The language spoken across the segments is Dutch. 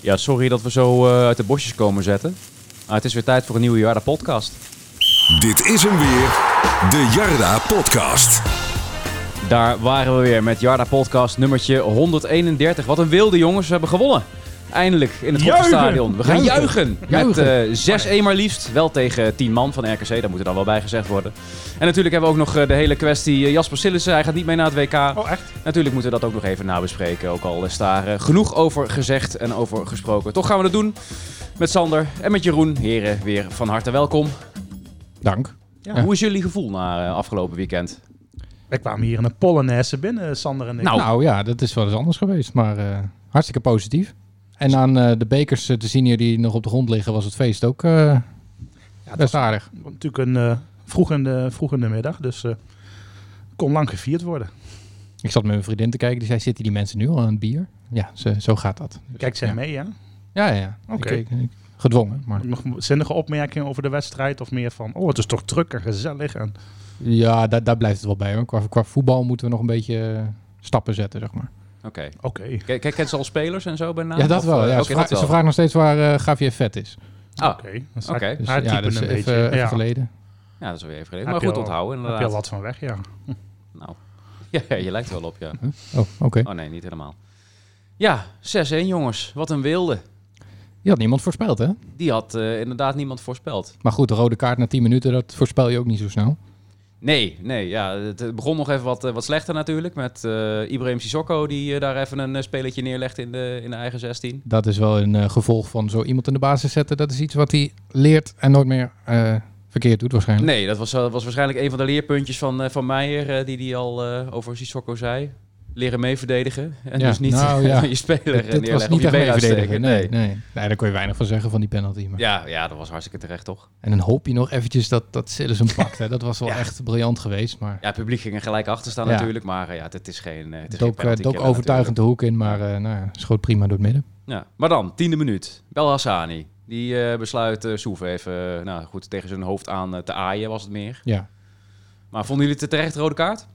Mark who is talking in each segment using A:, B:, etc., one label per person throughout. A: Ja, sorry dat we zo eh, uit de bosjes komen zetten. Maar het is weer tijd voor een nieuwe Jarda podcast.
B: Dit is hem weer, de Jarda Podcast.
A: Daar waren we weer met Jarda podcast nummertje 131. Wat een wilde jongens, we hebben gewonnen. Eindelijk in het
C: Juichen!
A: Hofstadion. We gaan juichen.
C: Juichen!
A: Met eh 6-1 maar liefst. Wel tegen 10 man van RKC, dat moet er dan wel bij gezegd worden. En natuurlijk hebben we ook nog eh, de hele kwestie eh, Jasper Sillissen. Hij gaat niet mee naar het WK.
C: Oh, echt?
A: Natuurlijk moeten we dat ook nog even nabespreken. Ook al is daar eh, genoeg over gezegd en over gesproken. Toch gaan we dat doen met Sander en met Jeroen. Heren, weer van harte welkom.
D: Dank.
C: Ja.
A: Hoe is jullie gevoel na eh, afgelopen weekend?
C: Wij kwamen hier in een Polonaise binnen, Sander en ik.
A: Nou.
D: Nou, ja, dat is wel eens anders geweest, maar eh, hartstikke positief. En aan eh, de bekers eh, te zien hier die nog op de grond liggen, was het feest ook eh,
C: Ja, het
D: best
C: was
D: aardig.
C: natuurlijk een eh, vroeg, in de, vroeg in de middag, dus eh, kon lang gevierd worden.
D: Ik zat met mijn vriendin te kijken, die zei, zitten die mensen nu al aan het bier? Ja, ze- zo gaat dat.
C: Kijkt zij
D: ja.
C: mee, ja?
D: Ja, ja, ja.
C: Oké.
D: Ik- ik- ik- gedwongen, maar...
C: Nog zinnige opmerkingen over de wedstrijd of meer van, oh, het is toch druk en gezellig. En,
D: Ja, daar, daar blijft het wel bij hoor. Qua, qua voetbal moeten we nog een beetje eh, stappen zetten, zeg maar.
A: Oké.
C: oké.
A: Kijk, kijk, kent ze al spelers en zo bij naam?
D: ja, dat
A: Of,
D: wel.
A: eh,
D: Ja.
A: oké,
D: ze, vra-
A: dat wel.
D: ze vragen nog steeds waar eh Gavier vet is.
A: Ah,
C: Oké, dan sta ik
A: oké.
D: Dus,
C: haar
D: ja,
C: typen
D: dus
C: een
D: even,
C: beetje.
D: even
C: ja.
D: geleden.
A: Ja, dat is weer even geleden.
C: Heb
A: Maar
C: je
A: goed
C: al-
A: onthouden,
C: Heb je al
A: inderdaad.
C: wat van weg, ja.
A: Nou, ja, je lijkt er wel op, ja.
D: Oh, oké.
A: Oh nee, niet helemaal. Ja, 6-1 jongens. Wat een wilde.
D: Je had niemand voorspeld, hè?
A: Die had eh, inderdaad niemand voorspeld.
D: Maar goed, de rode kaart na 10 minuten, dat voorspel je ook niet zo snel.
A: Nee, nee, ja, het begon nog even wat, eh, wat slechter natuurlijk. Met eh Ibrahim Sissoko, die eh, daar even een eh, spelletje neerlegt in de, in de eigen 16.
D: Dat is wel een eh, gevolg van zo iemand in de basis zetten. Dat is iets wat hij leert en nooit meer eh, verkeerd doet waarschijnlijk.
A: Nee, dat was, eh, was waarschijnlijk een van de leerpuntjes van, eh, van Meijer, eh, die die al eh, over Sissoko zei. Leren meeverdedigen en
D: Ja,
A: dus niet
D: nou ja.
A: aan je speler
D: Dit-
A: eh,
D: dit was
A: neerleggen.
D: niet
A: of
D: echt
A: je been
D: mee verdedigen.
A: uitsteken.
D: Nee, nee. nee, daar kon je weinig van zeggen van die penalty. Maar.
A: Ja, ja, dat was hartstikke terecht, toch?
D: En dan hoop je nog eventjes dat, dat Sillis hem pakt. Hè. Dat was wel
A: Ja.
D: echt briljant geweest. Maar
A: Ja, het publiek ging er gelijk achter staan
D: Ja.
A: natuurlijk, maar eh, ja, het is geen, eh, het is geen
D: dook, eh,
A: penalty
D: dook
A: killer
D: overtuigend de hoek in, maar eh, nou, ja, schoot prima door het midden.
A: natuurlijk. Ja. Maar dan, tiende minuut, Bel Hassani. Die eh, besluit eh Soef even eh, nou, goed, tegen zijn hoofd aan eh, te aaien, was het meer.
D: Ja.
A: Maar vonden jullie het terecht rode kaart?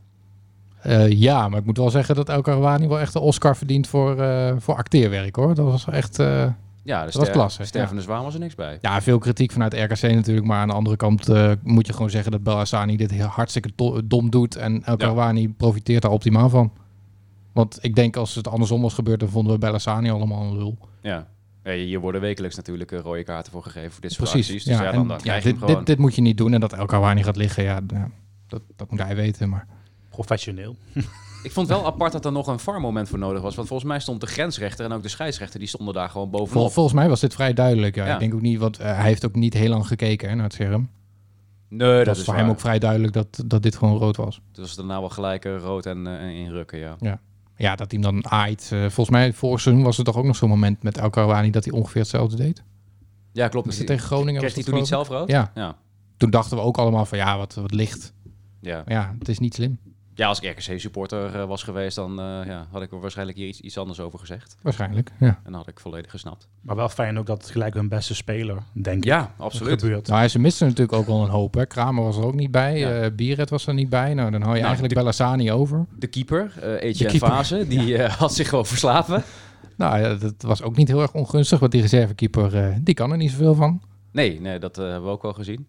D: Eh, ja, maar ik moet wel zeggen dat El Karawani wel echt de Oscar verdient voor, eh, voor acteerwerk hoor. Dat was wel echt... eh,
A: Ja, de
D: Dat was klasse,
A: stervende zwaan was er niks bij.
D: Ja, veel kritiek vanuit RKC natuurlijk. Maar aan de andere kant eh, moet je gewoon zeggen dat Belhassani dit heel hartstikke do- dom doet. En El
A: Ja.
D: Karouani profiteert daar optimaal van. Want ik denk als het andersom was gebeurd, dan vonden we Belhassani allemaal een lul.
A: Ja. Ja, Hier worden wekelijks natuurlijk eh, rode kaarten voor gegeven voor dit soort
D: Precies.
A: acties. Dus ja,
D: en
A: dan, dan
D: ja,
A: krijg je hem
D: dit,
A: gewoon.
D: dit, dit moet je niet doen. En dat El Karouani gaat liggen, ja, d- ja, dat, dat moet hij weten. Maar
C: Professioneel.
A: Ik vond wel apart dat er nog een VAR-moment voor nodig was. Want volgens mij stond de grensrechter en ook de scheidsrechter, die stonden daar gewoon
D: vol-
A: bovenop.
D: volgens mij was dit vrij duidelijk. Ja.
A: Ja.
D: Ik denk ook niet, want eh, hij heeft ook niet heel lang gekeken hè, naar het scherm.
A: Nee, dat,
D: Dat was
A: is
D: voor hem
A: waar.
D: ook vrij duidelijk dat, dat dit gewoon rood was.
A: Dus was daarna wel gelijk eh, rood en, eh, en inrukken, ja.
D: Ja, dat hij hem dan aait. Eh, volgens mij, vorig seizoen was er toch ook nog zo'n moment met El Karouani dat hij ongeveer hetzelfde deed.
A: Ja, klopt.
D: Was het tegen Groningen?
A: Kreeg
D: was
A: hij
D: dat
A: toen niet
D: geloof
A: zelf rood?
D: ik? Ja,
A: Ja.
D: toen dachten we ook allemaal van ja, wat, wat licht.
A: Ja.
D: Maar ja, het is niet slim.
A: ja, als ik RKC-supporter eh, was geweest, dan eh, ja, had ik er waarschijnlijk hier iets, iets anders over gezegd.
D: Waarschijnlijk, ja.
A: En dan had ik volledig gesnapt.
C: Maar wel fijn ook dat het gelijk hun beste speler, denk ik,
A: Ja, absoluut.
C: gebeurt.
D: Nou, ze misten natuurlijk ook wel een hoop. Hè. Kramer was er ook niet bij.
A: Ja.
D: eh Bieret was er niet bij. Nou, dan hou
A: Nou,
D: je eigenlijk
A: de-
D: Bellassani over.
A: De keeper, eh
D: De
A: Etienne
D: keeper.
A: Fase, die eh, had zich gewoon verslapen.
D: Nou, ja, dat was ook niet heel erg ongunstig, want die reservekeeper, eh, die kan er niet zoveel van.
A: Nee, nee dat eh, hebben we ook wel gezien.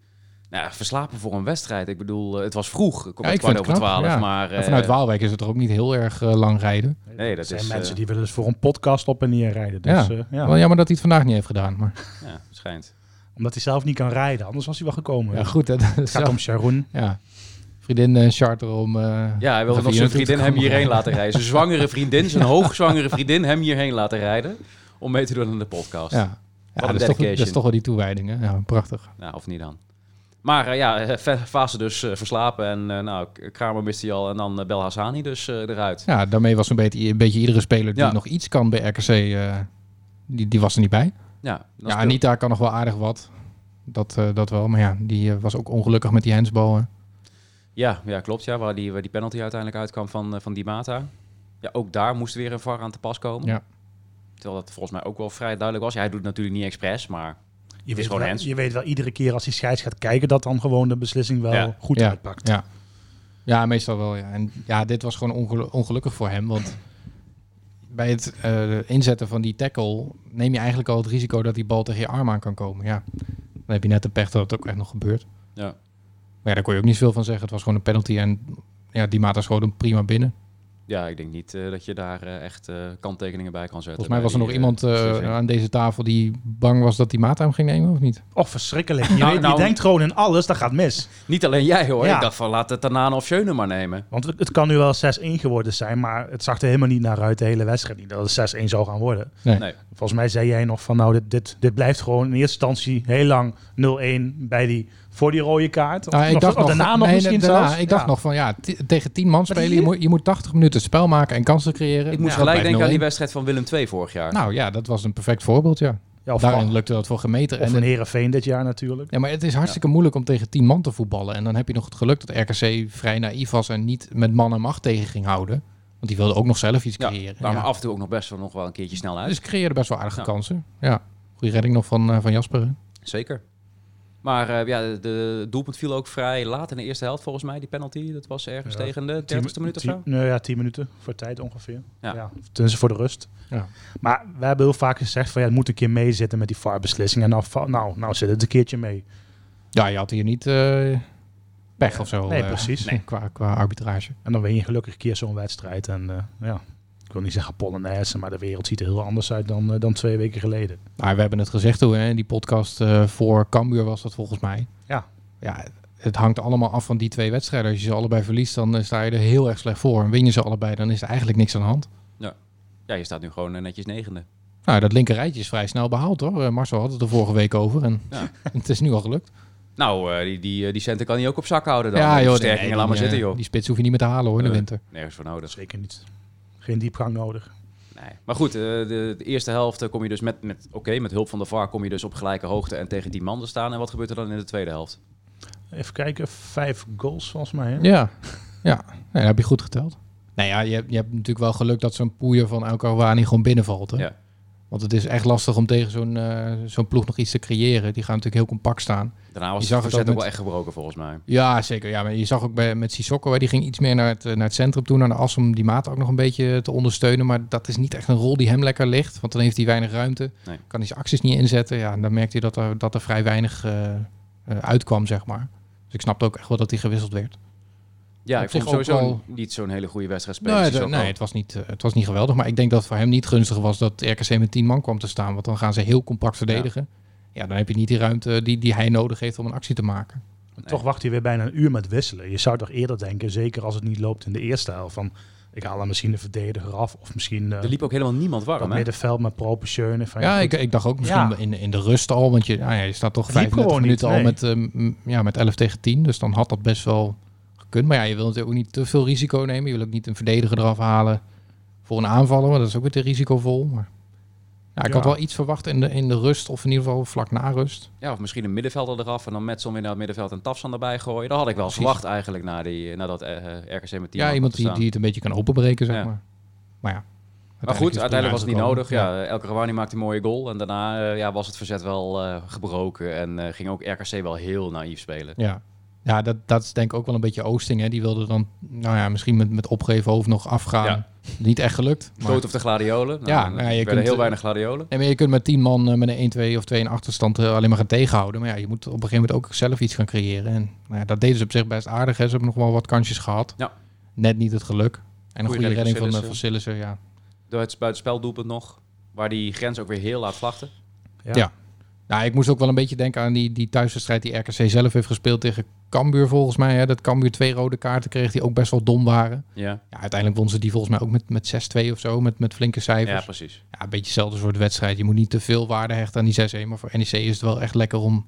A: Nou, ja, verslapen voor een wedstrijd. Ik bedoel, eh, het was vroeg. Ik kom
D: Ja,
A: om
D: ik
A: kwart
D: vind
A: over
D: het knap,
A: twaalf.
D: ja.
A: Maar
D: En
A: eh,
D: vanuit Waalwijk is het er ook niet heel erg eh, lang rijden.
A: Nee, dat
C: Er zijn
A: is,
C: mensen
A: eh,
C: die willen dus voor een podcast op en neer rijden. Dus,
D: Ja.
C: eh, ja.
D: Wel jammer dat hij het vandaag niet heeft gedaan. Maar
A: ja, schijnt.
C: Omdat hij zelf niet kan rijden, anders was hij wel gekomen.
D: ja, goed. Hè, dat
C: het
D: is
C: gaat
D: wel-
C: om Sharon.
D: ja. Vriendin eh, charter om... eh,
A: Ja, hij wilde
D: even
A: nog
D: hier
A: zijn
D: naartoe te
A: vriendin hem
D: komen.
A: hierheen laten rijden. Zijn zwangere vriendin, zijn hoogzwangere vriendin hem hierheen laten rijden. Om mee te doen aan de podcast.
D: Ja, ja
A: een
D: dat, is toch, dat
A: dedication.
D: is toch wel die toewijding. Hè? Ja, prachtig.
A: Nou, of niet dan. Maar eh, ja, eh, Fa- Fase dus eh, verslapen. En eh, nou, K- Kramer mist hij al. En dan eh, Bel Hassani dus eh, eruit.
D: Ja, daarmee was een beetje, een beetje iedere speler die
A: Ja.
D: nog iets kan bij RKC, eh, die, die was er niet bij.
A: Ja, dan
D: Ja,
A: speelt-
D: Anita kan nog wel aardig wat. Dat, eh, dat wel, maar ja, die eh, was ook ongelukkig met die handsbal. hè.
A: ja, ja klopt. Ja, waar, die, waar die penalty uiteindelijk uitkwam van, eh, van Di Mata. Ja, ook daar moest weer een VAR aan te pas komen.
D: Ja.
A: Terwijl dat volgens mij ook wel vrij duidelijk was. Ja, hij doet het natuurlijk niet expres, maar...
C: Je
A: is
C: weet,
A: gewoon
C: wel,
A: hands.
C: je weet wel iedere keer als die scheids gaat kijken dat dan gewoon de beslissing wel
A: Ja.
C: goed
D: Ja.
C: uitpakt.
D: Ja. ja, meestal wel. Ja. En ja, dit was gewoon ongelu- ongelukkig voor hem, want bij het eh, inzetten van die tackle neem je eigenlijk al het risico dat die bal tegen je arm aan kan komen. Ja, dan heb je net de pech dat het ook echt nog gebeurt.
A: Ja.
D: Maar ja, daar kon je ook niet veel van zeggen. Het was gewoon een penalty en ja, die maat is gewoon prima binnen.
A: Ja, ik denk niet eh, dat je daar eh, echt eh, kanttekeningen bij kan zetten.
D: Volgens mij
A: bij
D: was er nog
A: die, eh,
D: iemand eh,
A: beslissing.
D: aan deze tafel die bang was dat die maat hem ging nemen, of niet?
C: Och, Oh, verschrikkelijk. Je,
A: Nou,
C: weet- je
A: nou-
C: denkt gewoon in alles, dat gaat mis.
A: Niet alleen jij hoor.
C: Ja.
A: Ik dacht van laat het Tanane of Schöne maar nemen.
C: Want het, het kan nu wel 6-1 geworden zijn, maar het zag er helemaal niet naar uit de hele wedstrijd. Niet dat het 6-1 zou gaan worden.
D: Nee.
A: Nee.
C: Volgens mij zei jij nog van nou, dit, dit, dit blijft gewoon in eerste instantie heel lang 0-1 bij die, voor die rode kaart. Of,
D: Nou, ik
C: of-
D: dacht
C: of
D: nog,
C: daarna nog
D: nee,
C: misschien
D: daarna.
C: zelfs.
D: Ik dacht
C: Ja.
D: nog van ja, t- tegen 10 man spelen. Je
C: hier-
D: moet, je moet 80 minuten spel maken en kansen creëren.
A: Ik moest
D: Ja,
A: gelijk
D: dat
A: denken aan die
D: blijft 0-1.
A: wedstrijd van Willem II vorig jaar.
D: Nou ja, dat was een perfect voorbeeld, ja.
C: Ja, of,
D: Daarin lukte dat voor gemeten.
C: of
D: en
C: een Heerenveen dit jaar natuurlijk.
D: Ja, maar het is hartstikke moeilijk om tegen 10 man te voetballen. En dan heb je nog het geluk dat RKC vrij naïef was en niet met man en macht tegen ging houden. Want die wilde ook nog zelf iets
A: ja,
D: creëren.
A: maar
D: Ja.
A: af en toe ook nog best wel nog wel een keertje snel uit.
D: Dus creëerde best wel aardige
A: Ja.
D: kansen. Ja, goede redding nog van, eh, van Jasper. hè?
A: Zeker. Maar eh, ja, de, de doelpunt viel ook vrij laat in de eerste helft volgens mij, die penalty. Dat was ergens
C: Ja,
A: tegen de 30 e minuut of zo.
C: tien- nou ja, 10 minuten voor tijd ongeveer.
A: Ja.
C: Ja. tenminste voor de rust.
D: Ja.
C: Maar we hebben heel vaak gezegd van ja, het moet een keer meezitten met die VAR-beslissing. En nou, va- nou, nou zit het een keertje mee.
D: Ja, je had hier niet eh, pech of zo.
C: Nee,
D: eh,
C: precies.
D: Qua, qua arbitrage.
C: En dan win je gelukkig een keer zo'n wedstrijd. En eh, ja, ik wil niet zeggen Polonaise, maar de wereld ziet er heel anders uit dan, eh, dan twee weken geleden.
D: Maar we hebben het gezegd toen, hè, die podcast eh, voor Cambuur was dat volgens mij.
C: Ja.
D: Ja, het hangt allemaal af van die twee wedstrijden. Als je ze allebei verliest, dan eh, sta je er heel erg slecht voor. En win je ze allebei, dan is er eigenlijk niks aan de hand.
A: Ja, je staat nu gewoon eh, netjes negende.
D: Nou, dat linker rijtje is vrij snel behaald hoor. Eh, Marcel had het er vorige week over en
A: Ja.
D: het is nu al gelukt.
A: Nou, eh, die, die, eh, die centen kan hij ook op zak houden dan.
D: joh,
A: Die
D: nee,
A: Versterkingen,
D: die,
A: laat maar
D: eh,
A: zitten joh.
D: Die spits hoef je niet meer te halen hoor in de
A: Eh.
D: winter.
A: Nergens voor nodig.
C: Zeker niet. Geen diepgang nodig.
A: Nee. Maar goed, eh, de, de eerste helft eh, kom je dus met, met oké, met hulp van de VAR kom je dus op gelijke hoogte en tegen die man te staan. En wat gebeurt er dan in de tweede helft?
C: Even kijken, vijf goals volgens mij. Hè?
D: Ja, ja. Nee, dat heb je goed geteld. Nou ja, je, hebt- je hebt natuurlijk wel geluk dat zo'n poeier van Elko Wani gewoon binnenvalt. Hè?
A: Ja.
D: Want het is echt lastig om tegen zo'n eh, zo'n ploeg nog iets te creëren. Die gaan natuurlijk heel compact staan.
A: Daarna was
D: Je zag
A: het
D: het
A: verzet ook
D: ook
A: wel
D: met-
A: echt gebroken volgens mij.
D: Ja, zeker. Ja, maar je zag ook bij, met Sissoko, hè, die ging iets meer naar het, eh, naar het centrum toe, naar de as, om die maat ook nog een beetje te ondersteunen. Maar dat is niet echt een rol die hem lekker ligt, want dan heeft hij weinig ruimte.
A: Nee.
D: Kan hij zijn acties niet inzetten. Ja, en dan merkte hij dat er, dat er vrij weinig eh, eh, uitkwam, zeg maar. Dus ik snapte ook echt wel dat hij gewisseld werd.
A: Ja,
D: Op
A: ik vond
D: zich
A: hem sowieso
D: ook
A: niet zo'n hele goede wedstrijd spelen.
D: Nee,
A: Sissoko.
D: het, nee, het was niet, eh, het was niet geweldig, maar ik denk dat het voor hem niet gunstig was dat RKC met 10 man kwam te staan. Want dan gaan ze heel compact verdedigen. Ja, dan heb je niet die ruimte die, die hij nodig heeft om een actie te maken.
C: Maar Toch wacht hij weer bijna een uur met wisselen. Je zou toch eerder denken, zeker als het niet loopt in de eerste helft, van ik haal dan misschien de verdediger af of misschien eh
A: Er liep ook helemaal niemand
C: dat
A: warm, hè?
C: middenveld met Propenscheunen. Van,
D: Ja,
C: Ah, goed,
D: ik, ik dacht ook misschien
C: Ja.
D: in, in de rust al, want je, nou ja, je staat toch
C: Het liep
D: 35
C: gewoon niet,
D: minuten al
C: nee.
D: met, eh, m, ja, met 11 tegen 10. Dus dan had dat best wel gekund. Maar ja, je wil natuurlijk ook niet te veel risico nemen. Je wil ook niet een verdediger eraf halen voor een aanvaller, want dat is ook weer te risicovol. Maar, ja, ik
C: Ja.
D: had wel iets verwacht in de, in de rust, of in ieder geval vlak na rust.
A: Ja, of misschien een middenvelder eraf en dan Metson weer naar het middenveld en Tafsan erbij gooien. Dat had ik wel
D: Precies.
A: verwacht eigenlijk na, die, na dat eh, eh, RKC met 10
D: ja, iemand die, die het een beetje kan openbreken, zeg
A: Ja.
D: maar. Maar ja.
A: Maar goed,
D: is
A: uiteindelijk was het niet nodig.
D: uitgekomen.
A: Ja, El Karawani maakte een mooie goal. En daarna eh, ja, was het verzet wel eh, gebroken. En eh, ging ook RKC wel heel naïef spelen.
D: Ja, ja dat, dat is denk ik ook wel een beetje Oosting. Hè. Die wilde dan, nou ja, misschien met, met opgeven hoofd nog afgaan.
A: Ja.
D: Niet echt gelukt. Maar,
A: Stoot of de gladiolen. Nou,
D: Ja,
A: er
D: nou ja, je
A: werden
D: kunt,
A: heel
D: eh,
A: weinig gladiolen.
D: Nee, maar je kunt met 10 man eh, met een 1-2 of 2 in achterstand eh, alleen maar gaan tegenhouden. Maar ja, je moet op een gegeven moment ook zelf iets gaan creëren. En nou ja, dat deden ze op zich best aardig. Hè. Ze hebben nog wel wat kansjes gehad.
A: Ja.
D: Net niet het geluk. En een
A: Goeie
D: goede
A: redding
D: redding van, eh, van
A: Sillissen.
D: Sillissen, ja.
A: Door het buitenspeldoelpunt nog. Waar die grens ook weer heel laat vlakte.
D: Nou, ik moest ook wel een beetje denken aan die, die thuiswedstrijd die RKC zelf heeft gespeeld tegen Cambuur volgens mij. Hè. Dat Cambuur twee rode kaarten kreeg die ook best wel dom waren.
A: Ja,
D: Ja, uiteindelijk won ze die volgens mij ook met, met 6-2 of zo, met, met flinke
A: ja
D: cijfers. Ja.
A: precies.
D: een beetje hetzelfde soort wedstrijd. Je moet niet te veel waarde hechten aan die 6-1, maar voor NEC is het wel echt lekker om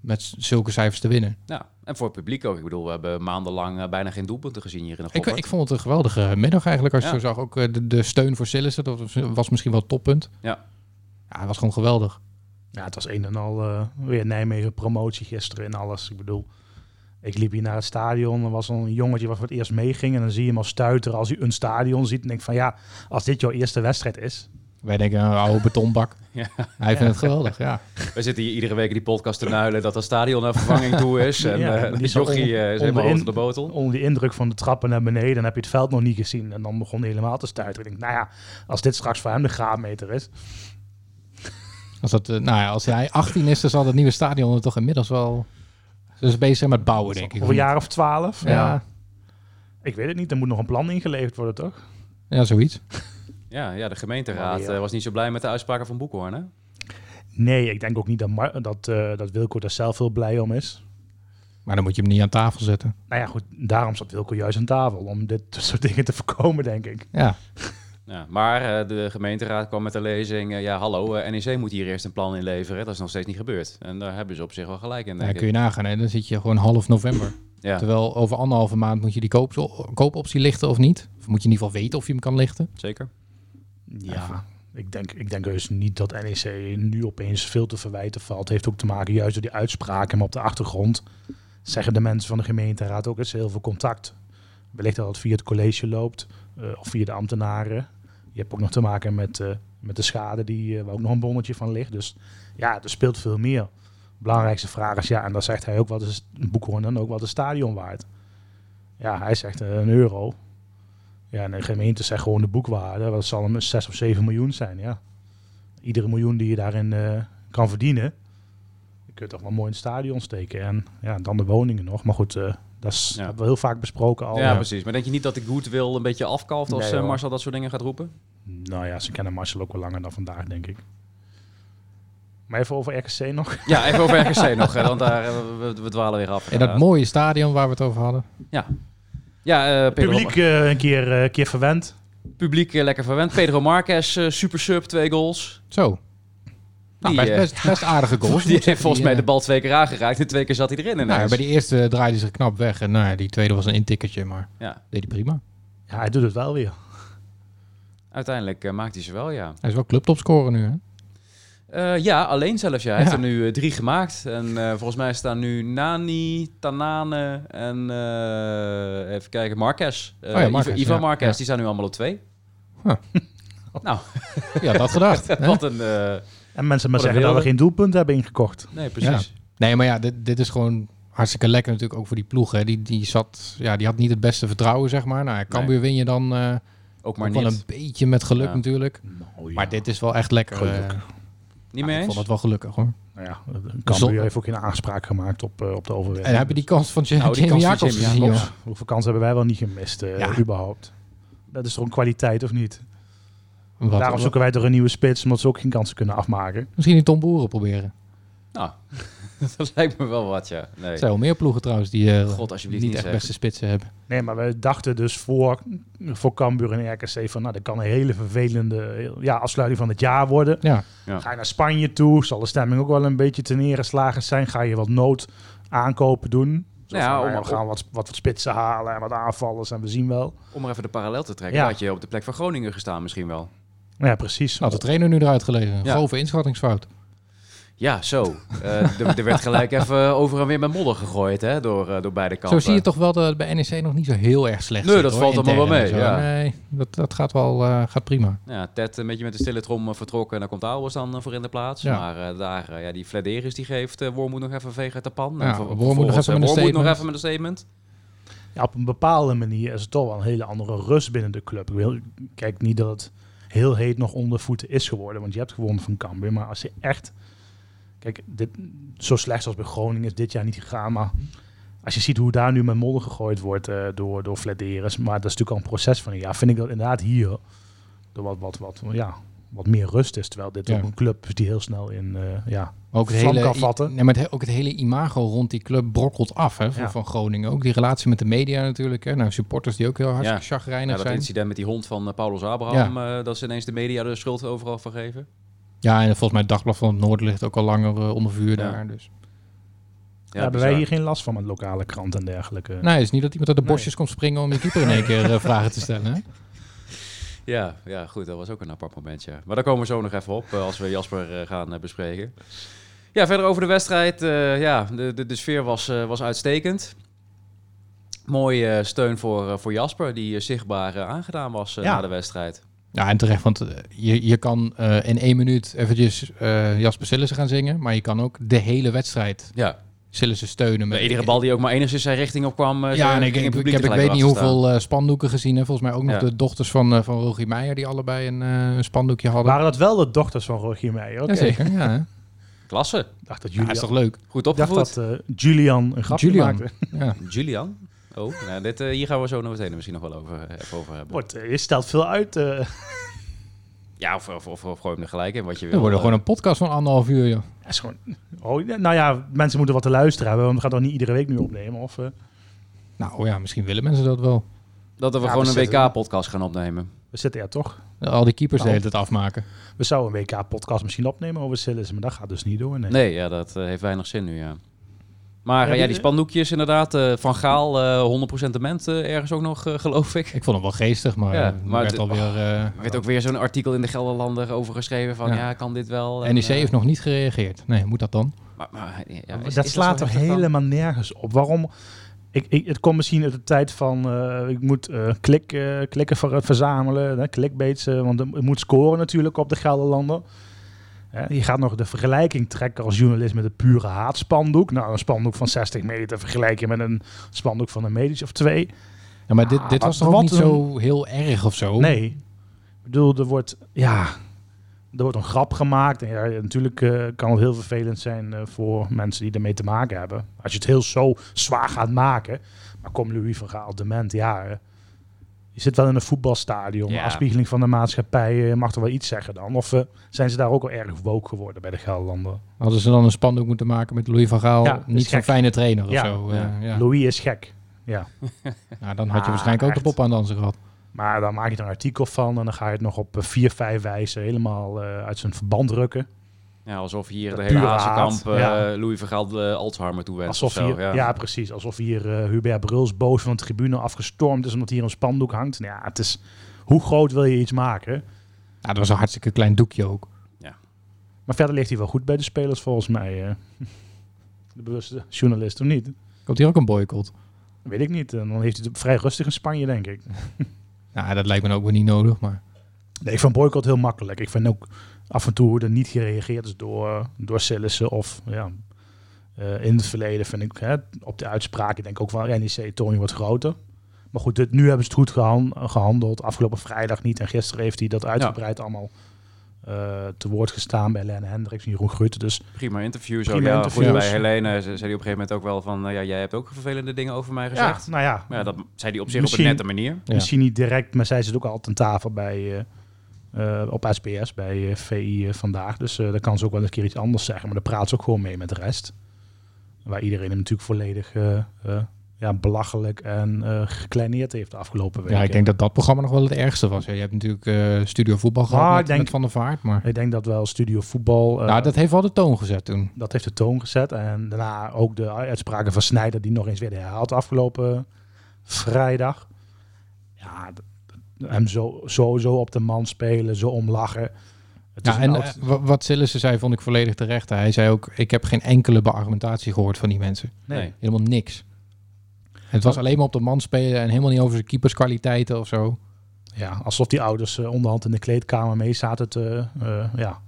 D: met z- zulke cijfers te winnen.
A: Ja. En voor het publiek ook. Ik bedoel, we hebben maandenlang eh, bijna geen doelpunten gezien hier in de
D: Ik,
A: Goppert.
D: ik vond het een geweldige middag eigenlijk, als je
A: Ja.
D: zo zag. Ook eh, de, de steun voor Sillissen, dat was, was misschien wel het toppunt.
A: Ja.
D: Ja, het was gewoon geweldig.
C: Ja, het was een en al eh, weer Nijmegen promotie gisteren en alles. Ik bedoel, ik liep hier naar het stadion. Er was een jongetje wat voor het eerst meeging. En dan zie je hem al stuiteren als hij een stadion ziet. En denk van ja, als dit jouw eerste wedstrijd is,
D: Wij denken een oude betonbak.
A: Ja.
D: Hij vindt het geweldig, ja.
A: We zitten hier iedere week in die podcast te nuilen dat dat stadion naar vervanging toe is. En
C: Ja,
A: eh,
C: maar die
A: de
C: is al
A: jochie
C: on-
A: eh, is helemaal
C: onderin.
A: over de
D: Oh.
A: botel.
C: Onder de indruk van de trappen naar beneden. Dan heb je het veld nog niet gezien. En dan begon hij helemaal te stuiteren. Ik denk, nou ja, als dit straks voor hem de graadmeter is.
D: Als, dat, eh, nou ja, als hij 18 is, dan zal dat nieuwe stadion er toch inmiddels wel... Ze is bezig zijn met bouwen, denk ik.
C: Of een jaar of twaalf.
D: Ja, ja.
C: Ik weet het niet. Er moet nog een plan ingeleverd worden, toch?
D: zoiets.
A: Ja, ja, de gemeenteraad
C: Oh, ja.
A: eh, was niet zo blij met de uitspraken van Boekhoorn. Hè?
C: Nee, ik denk ook niet dat, Mar- dat, eh, dat Wilco daar zelf heel blij om is.
D: Maar dan moet je hem niet aan tafel zetten.
C: Nou ja, goed. Daarom zat Wilco juist aan tafel. Om dit soort dingen te voorkomen, denk ik.
D: Ja,
A: Ja, maar eh, de gemeenteraad kwam met de lezing, eh, ja hallo, eh, NEC moet hier eerst een plan inleveren. Dat is nog steeds niet gebeurd. En daar hebben ze op zich wel gelijk in,
D: daar
A: denk
D: kun
A: ik.
D: je nagaan. Hè. Dan zit je gewoon half november.
A: Ja.
D: Terwijl over anderhalve maand moet je die koop, koopoptie lichten of niet. Of moet je in ieder geval weten of je hem kan lichten.
A: Zeker.
C: Ja, ik denk, ik denk heus niet dat NEC nu opeens veel te verwijten valt. Heeft ook te maken juist door die uitspraken. Maar op de achtergrond zeggen de mensen van de gemeenteraad ook... er is heel veel contact. Wellicht dat het via het college loopt eh, of via de ambtenaren. Je hebt ook nog te maken met, eh, met de schade die, eh, waar ook nog een bonnetje van ligt. Dus ja, er speelt veel meer. Belangrijkste vraag is, ja, en dan zegt hij ook wat is Boekhoorn dan ook wat een stadion waard. Ja, hij zegt eh, een euro. Ja, en de gemeente zegt gewoon de boekwaarde. Dat zal hem 6 of 7 miljoen zijn, ja. Iedere miljoen die je daarin eh, kan verdienen. Je kunt toch wel mooi in het stadion steken. En ja, dan de woningen nog. Maar goed, eh, dat is,
A: Ja.
C: hebben we heel vaak besproken al.
A: ja, precies. Maar denk je niet dat de goodwill een beetje afkalft als
C: Nee,
A: eh,
C: hoor.
A: Marcel dat soort dingen gaat roepen?
C: Nou ja, ze kennen Marcel ook wel langer dan vandaag, denk ik. Maar even over RKC nog.
A: Ja, even over RKC nog, hè, want daar, eh, we, we dwalen weer af. Eh,
D: En dat
A: inderdaad.
D: mooie stadion waar we het over hadden.
A: Ja, eh, Pedro-
C: Publiek eh, een keer, eh, keer verwend.
A: publiek eh, lekker verwend. Pedro Marquez, eh, super sub, twee goals.
D: Zo. Nou,
A: Die,
D: best,
A: eh,
D: best, best aardige goals.
A: Die heeft volgens mij de
D: eh,
A: bal twee keer aangeraakt en twee keer zat hij erin ineens.
D: Nou, ja, bij die eerste draaide ze knap weg. En nou, ja, die tweede was een intikkertje, maar
A: Ja.
D: deed hij prima.
C: Ja, hij doet het wel weer.
A: Uiteindelijk eh, maakt hij ze wel, ja.
D: Hij is wel clubtopscorer nu, hè?
A: Eh, ja, alleen zelfs. Ja. Hij heeft
D: Ja.
A: er nu eh, drie gemaakt. En eh, volgens mij staan nu Nani, Tanane en eh, even kijken, Marquez. Eh,
D: Oh ja, Marquez,
A: Iva, Ivan
D: ja.
A: Marquez,
D: Ja.
A: die staan nu allemaal op twee.
D: Huh.
A: Nou,
D: Ja, dat gedacht. hè?
A: wat een... eh,
C: En mensen maar
A: Wat een
C: zeggen dat we
A: wilde.
C: geen doelpunt hebben ingekocht.
A: nee, precies.
D: Nee, maar ja, dit, dit is gewoon hartstikke lekker natuurlijk ook voor die ploeg. Hè. Die, die, zat, ja, die had niet het beste vertrouwen, zeg maar. Nou, ja, Cambuur win je dan eh
A: Ook maar
D: ook wel een
A: niet.
D: beetje met geluk
A: Ja.
D: natuurlijk. Maar dit is wel echt lekker.
C: Geluk.
D: eh.
A: Niet
D: Ja,
A: mee
D: ik vond
A: eens?
D: dat wel gelukkig, hoor.
C: Nou ja,
D: Zonde.
C: Cambuur heeft ook geen aanspraak gemaakt op, eh, op de overwinning.
D: En heb je die kans van Jamie
A: Nou, die kans van
D: Jacobs
A: Jamie
D: gezien,
A: Jacobs.
D: joh?
C: Hoeveel kansen hebben wij wel niet gemist, eh,
D: Ja.
C: überhaupt? Dat is toch een kwaliteit, of niet?
D: Wat-
C: Daarom
D: wat-
C: zoeken wij toch een nieuwe spits, omdat ze ook geen kansen kunnen afmaken.
D: Misschien die Tom Boeren proberen.
A: Nou, dat lijkt me wel wat, ja. Nee.
D: Er zijn wel meer ploegen trouwens die eh,
A: God, alsjeblieft niet,
D: niet echt
A: zeggen.
D: beste spitsen hebben.
C: Nee, maar we dachten dus voor, voor Cambuur en RKC van... nou, dat kan een hele vervelende ja, afsluiting van het jaar worden.
D: Ja,
A: Ja.
C: Ga je naar Spanje toe, zal de stemming ook wel een beetje ten neergeslagen zijn. Ga je wat nood aankopen doen. Zo
A: Nou ja,
C: van,
A: om-
C: nou, we gaan wat, wat, wat spitsen halen en wat aanvallers en we zien wel.
A: Om maar even de parallel te trekken,
C: Ja.
A: had je op de plek van Groningen gestaan misschien wel.
C: Ja, precies.
D: nou, de trainer nu eruit gelezen.
A: Ja.
D: Grove inschattingsfout.
A: Ja, zo. Eh, er, er werd gelijk even over en weer met modder gegooid hè, door, eh, door beide kanten.
D: Zo zie je toch wel dat het bij NEC nog niet zo heel erg slecht
A: Nee,
D: zit,
A: dat
D: hoor,
A: valt allemaal
D: intern
A: wel
D: en
A: mee,
D: zo.
A: ja.
D: Nee, dat, dat gaat wel eh, gaat prima.
A: Ja, Ted een beetje met de stille trom eh, vertrokken en daar komt Albers dan eh, voor in de plaats.
D: Ja.
A: Maar eh, daar, eh, ja, die Flederis die geeft eh Wormoed nog even een veeg uit de pan.
D: Ja,
A: En ver-
D: Wormoed
A: vervolgens,
D: nog even
A: eh,
D: met een
A: Wormoed nog
D: statement.
A: even met een statement.
C: Ja, op een bepaalde manier is het toch wel een hele andere rust binnen de club. Ik wil, kijk niet dat het heel heet nog onder voeten is geworden, want je hebt gewonnen van Cambuur. Maar als je echt, kijk, dit, zo slecht als bij Groningen is dit jaar niet gegaan, maar als je ziet hoe daar nu met modder gegooid wordt eh, door, door Flederis, maar dat is natuurlijk al een proces van een jaar, vind ik dat inderdaad hier door wat, wat, wat, ja, wat meer rust is. Terwijl dit
D: Ja.
C: ook een club is die heel snel in, eh, ja,
D: Maar Ook het,
C: Vlam
D: hele,
C: kan vatten.
D: Nee, maar het, he- ook het hele imago rond die club brokkelt af hè, van,
C: Ja.
D: van Groningen. Ook die relatie met de media natuurlijk. Hè. Nou, supporters die ook heel hartstikke
A: Ja,
D: chagrijnig
A: dat
D: zijn.
A: incident met die hond van eh, Paulus Abraham, eh, dat ze ineens de media de schuld overal van geven.
D: Ja, en volgens mij het Dagblad van het Noorden ligt ook al langer eh, onder vuur
A: Ja.
D: daar. Dus.
C: daar hebben wij
A: bizar.
C: hier geen last van met lokale krant en dergelijke.
D: Nee, het is niet dat iemand uit de
C: Nee.
D: bosjes komt springen om je keeper in één keer eh, vragen te stellen. Hè.
A: Ja, ja, goed, dat was ook een apart moment, ja. Maar daar komen we zo nog even op, eh, als we Jasper eh, gaan eh, bespreken. Ja, verder over de wedstrijd. eh, ja, de, de, de sfeer was, eh, was uitstekend. Mooie eh, steun voor, eh, voor Jasper, die eh, zichtbaar eh, aangedaan was eh,
C: Ja.
A: na de wedstrijd.
D: Ja, en terecht, want eh, je, je kan eh, in één minuut eventjes eh, Jasper Sillissen gaan zingen, maar je kan ook de hele wedstrijd
A: Ja,
D: Sillissen steunen.
A: bij iedere bal die ook maar enigszins zijn richting op kwam. eh,
D: Ja,
A: ze-
D: en ik,
A: ging het
D: ik, ik
A: publiek
D: heb ik
A: er gelijk
D: weet niet
A: weer achter staan.
D: hoeveel eh, spandoeken gezien. En volgens mij ook nog
A: Ja.
D: de dochters van, eh, van Rogier Meijer, die allebei een, eh, een spandoekje hadden.
C: Waren dat wel de dochters van Rogier Meijer? Oké.
D: Jazeker, ja. hè. Ja,
A: Klasse.
C: dacht dat
D: is
C: Julian,
D: toch leuk?
A: Goed
C: ik dacht
A: opgevoed.
C: dat eh, Julian een grapje
D: Julian.
C: maakte.
D: Ja.
A: Julian. Oh, nou, dit, eh, hier gaan we zo nog meteen misschien nog wel over, eh, even over hebben.
C: Wordt, eh, je stelt veel uit. eh.
A: Ja, of, of, of, of gooi hem er gelijk in wat je wil.
D: We worden
A: eh.
D: gewoon een podcast van anderhalf uur, joh.
C: Ja, is gewoon, oh, ja, nou ja, mensen moeten wat te luisteren hebben. Want we gaan toch niet iedere week nu opnemen. Of, eh,
D: Nou ja, misschien willen mensen dat wel.
A: eh, Dat we
C: Ja,
A: gewoon
C: we
A: een
C: zetten-
A: WK-podcast gaan opnemen.
C: we zitten ja toch.
D: Al die keepers
C: Nou.
D: de hele tijd afmaken.
C: We zouden een WK-podcast misschien opnemen over Sillis. Maar dat gaat dus niet door. Nee.
A: Nee, ja, dat eh, heeft weinig zin nu, ja. Maar eh,
C: Ja,
A: ja,
C: die-
A: die spandoekjes inderdaad. eh, van Gaal, eh 100% dement eh, ergens ook nog, eh, geloof ik.
D: Ik vond hem wel geestig, maar,
A: Ja,
D: ja,
A: maar Ah.
D: werd
A: de-
D: alweer... eh
A: Er werd ook weer zo'n artikel in de Gelderlander over geschreven van... Ja,
D: Ja.
A: kan dit wel? En,
D: NEC
A: eh,
D: E heeft nog niet gereageerd. Nee, moet dat dan?
A: Maar, maar, ja, is- is
C: dat slaat
A: zo
C: toch
A: heftig dan?
C: helemaal nergens op. Waarom? Ik, ik, het komt misschien uit de tijd van eh, ik moet eh, klik, eh, klikken ver- verzamelen, hè, clickbaits, eh, want het moet scoren natuurlijk op de Gelderlander. Hè, je gaat nog de vergelijking trekken als journalist met het pure haatspandoek. Nou, een spandoek van 60 meter vergelijken met een spandoek van een medisch of twee.
D: Ja, maar dit,
C: Ah,
D: dit
C: wat-
D: was toch ook
C: wat
D: niet
C: een-
D: zo heel erg of zo?
C: Nee. Ik bedoel, er wordt, ja, er wordt een grap gemaakt. En ja, natuurlijk eh, kan het heel vervelend zijn eh, voor mensen die ermee te maken hebben. Als je het heel zo zwaar gaat maken. Maar kom Louis van Gaal, dement, ja. eh, je zit wel in een voetbalstadion.
A: Ja.
C: Afspiegeling van de maatschappij. eh, Je mag toch wel iets zeggen dan? Of eh, zijn ze daar ook al erg woke geworden bij de Gelderlanden?
D: Hadden ze dan een spandoek moeten maken met Louis van Gaal?
C: Ja, dat is
D: niet zo'n
C: gek.
D: fijne trainer of
C: Ja,
D: zo.
A: ja.
D: eh, ja.
C: Louis is gek.
D: Nou, dan had je
C: Ah,
D: waarschijnlijk ook
C: echt.
D: de pop aan dansen gehad.
C: Maar dan maak je er een artikel van. En dan ga je het nog op eh, vier, vijf wijzen helemaal eh, uit zijn verband rukken.
A: Ja, alsof hier
C: Dat
A: de hele
C: pure
A: Hazenkamp
C: haat, ja.
A: eh, Louis Vergaal eh, Alzheimer toewenst.
C: Alsof
A: of zo,
C: hier, ja. precies. Alsof hier eh, Hubert Bruls boos van de tribune afgestormd is omdat hier een spandoek hangt. Nou ja, het is, hoe groot wil je iets maken?
D: Nou, dat was een hartstikke klein doekje ook.
C: Maar verder ligt hij wel goed bij de spelers volgens mij. eh. de bewuste journalist of niet?
D: Komt hier ook een boycott?
C: Weet ik niet. En dan heeft hij het vrij rustig in Spanje, denk ik.
D: Nou, dat lijkt me ook wel niet nodig, maar...
C: Nee, ik vind boycott heel makkelijk. Ik vind ook af en toe hoe er niet gereageerd is door, door Sillissen of ja, eh, in het verleden vind ik hè, op de uitspraken denk ik ook wel NEC Tony wordt groter. Maar goed, dit, nu hebben ze het goed gehan- gehandeld. Afgelopen vrijdag niet en gisteren heeft hij dat uitgebreid allemaal eh, te woord gestaan bij Lenne Hendricks en Jeroen Grutte. Dus
A: Prima interview. Zo.
C: Prima
A: ja,
C: interviews.
A: Goed, bij Helene ze- zei hij op een gegeven moment ook wel van... eh, ja, jij hebt ook vervelende dingen over mij gezegd.
C: ja, nou ja,
A: Maar ja, dat zei hij op zich
C: Misschien-
A: op een nette manier.
D: Ja.
C: misschien niet direct, maar zij zit ook al aan tafel bij, eh, eh, op SBS bij eh, VI eh, vandaag. Dus eh daar kan ze ook wel eens een keer iets anders zeggen. Maar daar praat ze ook gewoon mee met de rest. Waar iedereen hem natuurlijk volledig eh, eh, ja, belachelijk en eh gekleineerd heeft de afgelopen weken.
D: Ja, ik denk dat dat programma nog wel het ergste was. Ja, je hebt natuurlijk eh, Studio Voetbal gehad
C: Ah,
D: met,
C: ik denk-
D: met Van der Vaart, maar...
C: Ik denk dat wel Studio Voetbal... eh,
D: nou,
C: dat...
D: dat heeft wel de toon gezet toen.
C: heeft de toon gezet. En daarna ook de uitspraken van Snijder die nog eens werden herhaald afgelopen vrijdag. Ja, d- d- hem zo, zo, zo op de man spelen, zo omlachen. Het is
D: Ja,
C: een
D: en
C: oud-
D: eh, wa- wat Sillissen zei, vond ik volledig terecht. Hij zei ook, ik heb geen enkele beargumentatie gehoord van die mensen.
A: Nee.
D: Helemaal niks. Het was alleen maar op de man spelen en helemaal niet over zijn keeperskwaliteiten of zo.
C: Ja, alsof die ouders eh, onderhand in de kleedkamer mee zaten te, eh, ja,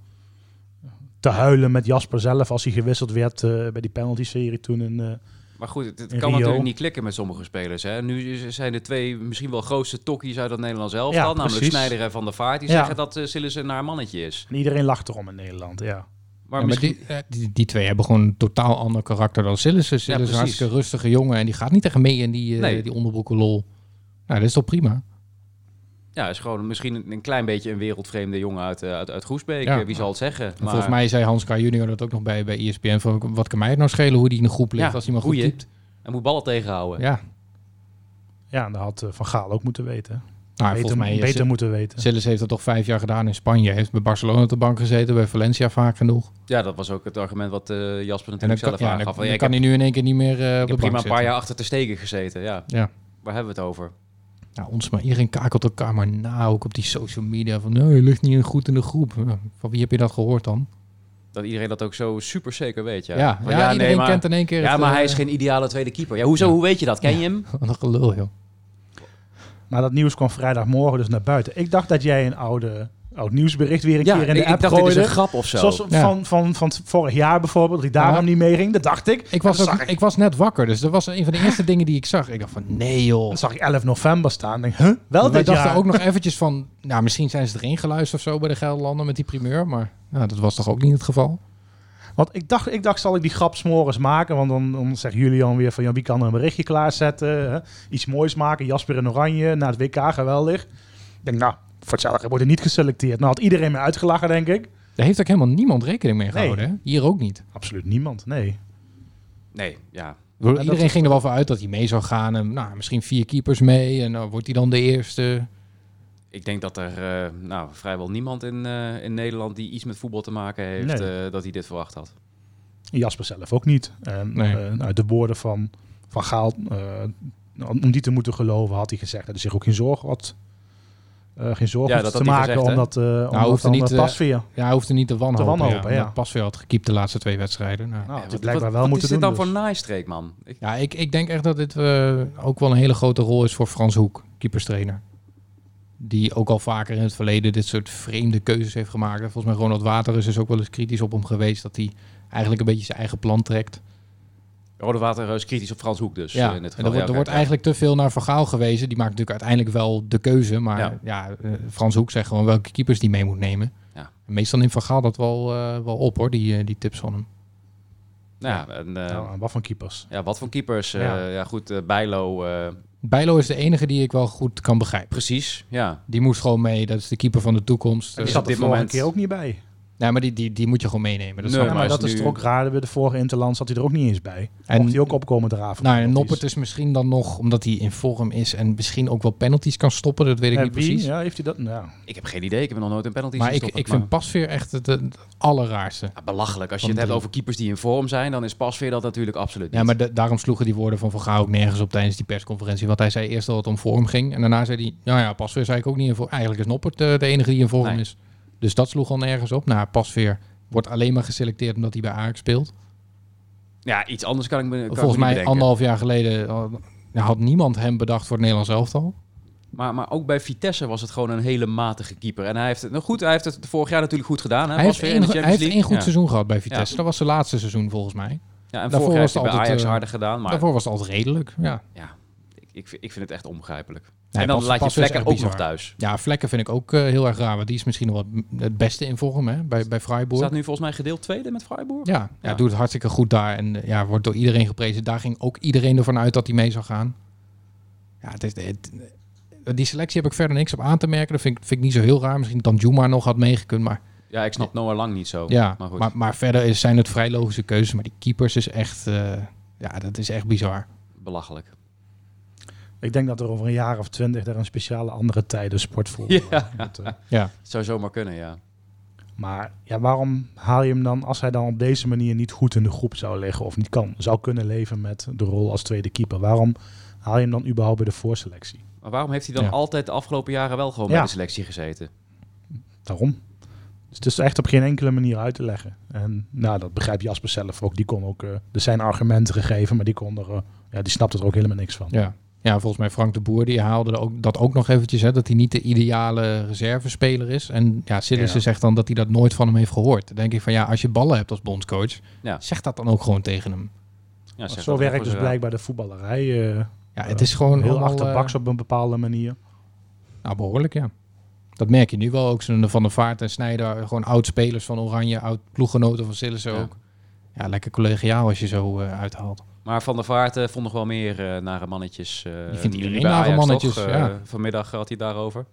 C: te huilen met Jasper zelf als hij gewisseld werd eh, bij die penalty-serie toen. In, eh,
A: Maar goed, het, het
C: In
A: kan
C: Rio.
A: natuurlijk niet klikken met sommige spelers. Hè. Nu is- zijn de twee misschien wel grootste tokkies uit het Nederlands elftal.
C: Ja,
A: namelijk
C: precies.
A: Snijder en Van der Vaart. Die
C: Ja.
A: zeggen dat eh Sillissen naar mannetje is.
C: en iedereen lacht erom in Nederland, ja.
A: Maar
D: Ja, maar
A: misschien...
D: die, eh, die, die twee hebben gewoon een totaal ander karakter dan Sillissen. Sillissen is
A: precies.
D: een hartstikke rustige jongen en die gaat niet echt mee in die, eh
A: Nee.
D: die onderbroekenlol. Nou, dat is toch prima?
A: Ja, is gewoon misschien een, een klein beetje een wereldvreemde jongen uit, eh, uit, uit Groesbeek.
D: Ja.
A: Eh, Wie zal het zeggen?
D: En Volgens mij zei Hans K. Junior dat ook nog bij, E bij ESPN. Van, wat kan mij het nou schelen hoe die in de groep ligt
A: Ja,
D: als hij maar goed
A: boeien.
D: typt?
A: En moet ballen tegenhouden.
D: Ja, Nou,
C: Ja, en dat had eh, Van Gaal ook moeten weten.
D: nou,
C: beter
D: volgens mij
C: beter
D: beter.
C: moeten weten.
D: Sillis heeft dat toch vijf jaar gedaan in Spanje. Hij heeft bij Barcelona op de bank gezeten, bij Valencia vaak genoeg.
A: Ja, dat was ook het argument wat eh, Jasper
D: En dan,
A: natuurlijk
D: kan,
A: zelf
D: ja, dan,
A: aangaf. Van, ja,
D: dan
A: ik
D: kan
A: heb,
D: hij nu in één keer niet meer eh, op
A: ik
D: de
A: heb
D: bank
A: prima een paar
D: zitten.
A: jaar achter te steken gezeten. Ja.
D: Ja.
A: Waar hebben we het over?
D: Nou, ons maar, iedereen kakelt elkaar maar na, ook op die social media. Van, nee, je ligt niet goed in de groep. Ja, Van wie heb je dat gehoord dan?
A: Dat iedereen dat ook zo super zeker weet. Ja,
D: Ja, ja,
A: Van,
D: iedereen
A: nee, maar,
D: kent in één keer
A: ja
D: het,
A: maar
D: eh,
A: hij is geen ideale tweede keeper. Ja, hoezo? Hoe weet je dat? Ken je hem?
D: Wat een gelul, joh.
C: Maar dat nieuws kwam vrijdagmorgen dus naar buiten. Ik dacht dat jij een oude, oud nieuwsbericht weer een
A: Ja,
C: keer in de
A: ik, ik
C: app
A: dacht dit is
C: gooide.
A: een grap of zo.
C: Zoals
D: Ja.
C: van, van, van vorig jaar bijvoorbeeld, die daarom
D: Ja.
C: niet mee ging. Dat dacht ik.
D: Ik was,
C: dat
D: ook,
C: zag
D: ik was net wakker, dus dat was een van de eerste dingen die ik zag. Ik dacht van, nee joh.
C: Dan zag ik 11 november staan. Denk, huh? Wel
D: Wij
C: dit
D: dachten
C: jaar.
D: ook nog eventjes van, nou misschien zijn ze erin geluisterd of zo bij de Gelderlanden met die primeur. Maar nou, dat was toch ook niet het geval?
C: Want ik dacht, ik dacht, zal ik die grap s'morgens maken? Want dan, dan zegt Julian weer van, ja, wie kan er een berichtje klaarzetten? hè? Iets moois maken, Jasper in oranje, naar het WK, geweldig. Ik denk, nou, voor hetzelfde wordt er niet geselecteerd. Nou had iedereen me uitgelachen, denk ik.
D: Daar heeft ook helemaal niemand rekening mee
C: Nee.
D: gehouden. hè? Hier ook niet.
C: Absoluut niemand, nee.
A: Nee, ja.
D: Ik bedoel,
C: Ja, dat-
D: Iedereen ging er wel van uit dat hij mee zou gaan. En, nou, misschien vier keepers mee. En nou, wordt hij dan de eerste?
A: Ik denk dat er eh, nou, vrijwel niemand in, eh, in Nederland die iets met voetbal te maken heeft,
C: Nee.
A: eh, dat hij dit verwacht had.
C: Jasper zelf ook niet. En
D: Nee.
C: eh, uit de woorden van, van Gaal, eh, om die te moeten geloven, had hij gezegd dat hij zich ook geen zorgen had. eh, geen zorgen
A: Ja,
C: hoefde
A: dat
C: te
A: had hij
C: maken
A: gezegd, hè? Nou,
C: omdat, eh omdat
D: hoefde
C: dan
D: niet,
C: eh,
D: eh,
C: Pasveer.
D: Ja, hij hoefde niet te wanhopen.
C: wanhopen, ja.
D: Omdat Pasveer had gekiept de laatste twee wedstrijden. Nou.
C: nou,
A: Ja,
C: had hij
A: wat-
C: blijkbaar
A: wat-
C: wel
A: wat
C: moeten
A: is
C: doen.
A: dit dan
C: dus.
A: voor naaistreek, man? Ik-
D: Ja, ik, ik denk echt dat dit eh, ook wel een hele grote rol is voor Frans Hoek, keeperstrainer. Die ook al vaker in het verleden dit soort vreemde keuzes heeft gemaakt. En Volgens mij Ronald Waterus is ook wel eens kritisch op hem geweest. Dat hij eigenlijk een beetje zijn eigen plan trekt.
A: Rode Water is kritisch op Frans Hoek dus.
D: ja,
A: eh, in
D: en
A: dit
D: er
A: geval.
D: wordt, er
A: Ja,
D: wordt
A: oké.
D: eigenlijk te veel naar Vergaal gewezen. Die maakt natuurlijk uiteindelijk wel de keuze. Maar ja,
A: Ja.
D: eh, Frans Hoek zegt gewoon welke keepers die mee moet nemen.
A: Ja.
D: En meestal neemt Vergaal dat wel, eh, wel op hoor, die, eh, die tips van hem.
A: Nou, ja, en, eh,
C: Nou, aan wat van keepers?
A: ja, wat voor keepers? eh,
C: Ja.
A: ja. goed, eh, Bijlo. eh,
D: Bijlo is de enige die ik wel goed kan begrijpen.
A: precies, ja.
D: Die moest gewoon mee. Dat is de keeper van de toekomst.
C: Die
D: Eh,
A: is
C: zat
A: op
C: er
A: dit
C: vorige
A: moment-
C: keer ook niet bij.
D: Nee, maar die, die, die moet je gewoon meenemen. Dat
A: Nee,
D: snap
C: Ja,
D: ik.
C: maar
A: maar
C: dat
A: is
C: is
A: nu-
C: toch ook raar. Bij de vorige Interland zat hij er ook niet eens bij. En
D: En-
C: mocht hij ook opkomen draven.
D: Nou, en
C: penalties.
D: Noppert is misschien dan nog, omdat hij in vorm is en misschien ook wel penalties kan stoppen. Dat weet ik
C: Eh,
D: niet
C: wie?
D: precies.
C: Ja, heeft hij dat? Nou,
A: Ik heb geen idee. Ik heb nog nooit een penalty
D: maar ik,
A: gestopt,
D: ik vind Pasveer echt het, het allerraarste.
A: Ja, belachelijk. Als je
D: Van
A: het hebt
D: drie.
A: over keepers die in vorm zijn, dan is Pasveer dat natuurlijk absoluut niet.
D: Ja, maar da- daarom sloegen die woorden van Van Gaal ook nergens op tijdens die persconferentie. Want hij zei eerst dat het om vorm ging. En daarna zei hij, nou ja, Pasveer zei ik ook niet in vorm. Eigenlijk is Noppert eh, de enige die in vorm
A: Nee.
D: is. Dus dat sloeg al nergens op. Nou, Pasveer wordt alleen maar geselecteerd omdat hij bij Ajax speelt.
A: Ja, iets anders kan ik me kan ik me
D: Volgens
A: niet
D: mij
A: bedenken.
D: anderhalf jaar geleden eh, had niemand hem bedacht voor het Nederlands elftal.
A: Maar, maar ook bij Vitesse was het gewoon een hele matige keeper. En hij heeft het, nou goed, hij heeft het vorig jaar natuurlijk goed gedaan. Hè?
D: Hij heeft,
A: Pasveer in
D: één,
A: de
D: hij
A: Champions
D: heeft
A: League.
D: één goed
A: Ja.
D: seizoen gehad bij Vitesse. Dat was zijn laatste seizoen volgens
A: Ja,
D: mij.
A: en vorig
D: Daarvoor
A: jaar heeft
D: was
A: hij bij
D: het altijd,
A: Ajax
D: eh,
A: harder gedaan. Maar
D: Daarvoor was het altijd redelijk. Ja,
A: ja, ik, ik, vind- ik vind het echt onbegrijpelijk.
D: Nee,
A: en dan
D: Pas-
A: laat je
D: Pasveer is
A: Vlekken ook
D: echt
A: nog
D: bizar.
A: thuis.
D: ja Vlekken vind ik ook eh, heel erg raar. Want die is misschien nog wat m- het beste in vorm hè, bij, bij Freiburg.
A: Staat nu volgens mij gedeeld tweede met Freiburg?
D: Ja, ja,
A: Ja.
D: doet het hartstikke goed daar. En eh, ja, wordt door iedereen geprezen. Daar ging ook iedereen ervan uit dat hij mee zou gaan. Ja, het is, het- eh, die selectie heb ik verder niks op aan te merken. Dat vind ik, vind ik niet zo heel raar. Misschien dat Juma nog had meegekund. Maar,
A: Ja, ik snap Noah Lang niet zo.
D: ja,
A: Oh, maar
D: maar,
A: goed.
D: maar, verder is, zijn het vrij logische keuzes. Maar die keepers is echt... eh, ja, dat is echt bizar.
A: Belachelijk.
C: ik denk dat er over een jaar of twintig daar een speciale andere tijden sport voor
A: Ja.
C: wordt, eh.
D: Ja.
A: Het zou zomaar kunnen, ja.
C: Maar ja, waarom haal je hem dan als hij dan op deze manier niet goed in de groep zou liggen of niet kan, zou kunnen leven met de rol als tweede keeper? Waarom haal je hem dan überhaupt bij de voorselectie?
A: Maar waarom heeft hij dan
D: Ja.
A: altijd de afgelopen jaren wel gewoon
C: Ja.
A: bij de selectie gezeten?
C: Daarom? Dus het is echt op geen enkele manier uit te leggen. En nou, dat begrijpt Jasper zelf ook. Die kon ook, eh, er zijn argumenten gegeven, maar die kon er, eh, ja, die snapte er ook helemaal niks van.
D: Ja. ja, volgens mij Frank de Boer die haalde er ook, dat ook nog eventjes. Hè, dat hij niet de ideale reservespeler is. En ja, Sillissen
C: Ja.
D: zegt dan dat hij dat nooit van hem heeft gehoord. Dan denk ik van ja, als je ballen hebt als bondscoach,
A: Ja.
D: zeg dat dan ook gewoon tegen hem.
A: Ja, zeg
C: Zo
A: dat
C: werkt
A: even
C: dus
A: zo.
C: blijkbaar de voetballerij. eh,
D: Ja, het is gewoon
C: heel
D: allemaal,
C: achterbaks
D: eh,
C: op een bepaalde manier.
D: nou, behoorlijk, ja. Dat merk je nu wel ook. Zo'n Van der Vaart en Snijder, gewoon oud-spelers van Oranje, oud-ploeggenoten van Sillissen
A: Ja.
D: ook. Ja, lekker collegiaal als je zo eh, uithaalt.
A: Maar Van der Vaart eh, vond nog wel meer eh nare mannetjes. eh,
D: vindt
A: die
D: iedereen
A: nu bij
D: nare
A: Ajax,
D: mannetjes,
A: toch?
D: ja.
A: Eh, vanmiddag had hij het daarover.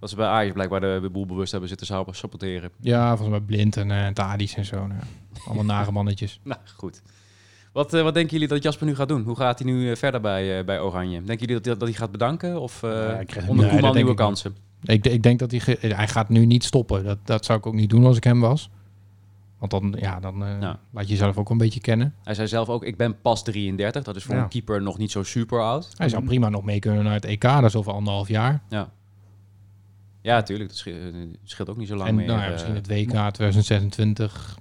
A: Dat ze bij Ajax blijkbaar de, de boel bewust hebben zitten zou saboteren.
D: Ja, volgens mij Blind en eh Tadic en zo. nou ja. allemaal nare mannetjes.
A: Nou, goed. Wat, eh, wat denken jullie dat Jasper nu gaat doen? Hoe gaat hij nu eh, verder bij, eh, bij Oranje? Denken jullie dat, hij- dat hij gaat bedanken? Of
D: Nou
A: eh
C: Ja, ik krijg-
A: onder
D: nee, dat denk
A: Koeman nieuwe
D: ik niet.
A: kansen?
D: Ik, ik denk dat hij, ge- hij gaat nu niet stoppen. Dat, dat zou ik ook niet doen als ik hem was. Want dan, ja, dan eh,
A: Ja.
D: laat je jezelf ook een beetje kennen.
A: Hij zei zelf ook, ik ben pas 33. Dat is voor
C: Ja.
A: een keeper nog niet zo super oud.
D: Hij zou prima nog mee kunnen naar het EK, dat is over anderhalf jaar.
A: Ja, tuurlijk. Dat scheelt, eh, scheelt ook niet zo lang
D: en
A: meer.
D: nou ja,
A: eh.
D: misschien het WK 2026,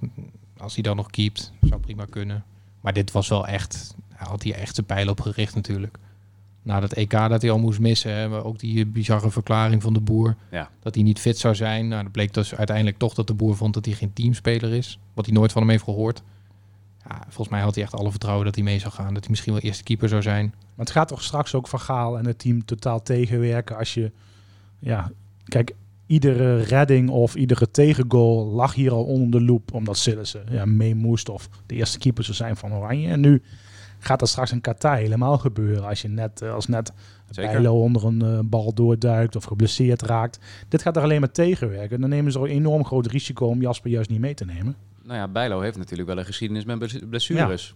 D: als hij dan nog keept, zou prima kunnen. Maar dit was wel echt, hij had hier echt zijn pijl op gericht natuurlijk. na dat EK dat hij al moest missen. Hè, maar ook die eh, bizarre verklaring van de boer.
A: Ja.
D: Dat hij niet fit zou zijn. Nou, dat bleek dus uiteindelijk toch dat de boer vond dat hij geen teamspeler is. Wat hij nooit van hem heeft gehoord. Ja, volgens mij had hij echt alle vertrouwen dat hij mee zou gaan. Dat hij misschien wel eerste keeper zou zijn.
C: Maar het gaat toch straks ook van Gaal en het team totaal tegenwerken als je... Ja, kijk, iedere redding of iedere tegengoal lag hier al onder de loep. Omdat Sillissen ja, mee moest of de eerste keeper zou zijn van Oranje. En nu gaat dat straks in Qatar helemaal gebeuren. Als je net, eh, als net
A: Zeker.
C: Bijlo onder een eh, bal doorduikt of geblesseerd raakt. Dit gaat er alleen maar tegenwerken. Dan nemen ze een enorm groot risico om Jasper juist niet mee te nemen.
A: Nou ja, Bijlo heeft natuurlijk wel een geschiedenis met bles- blessures.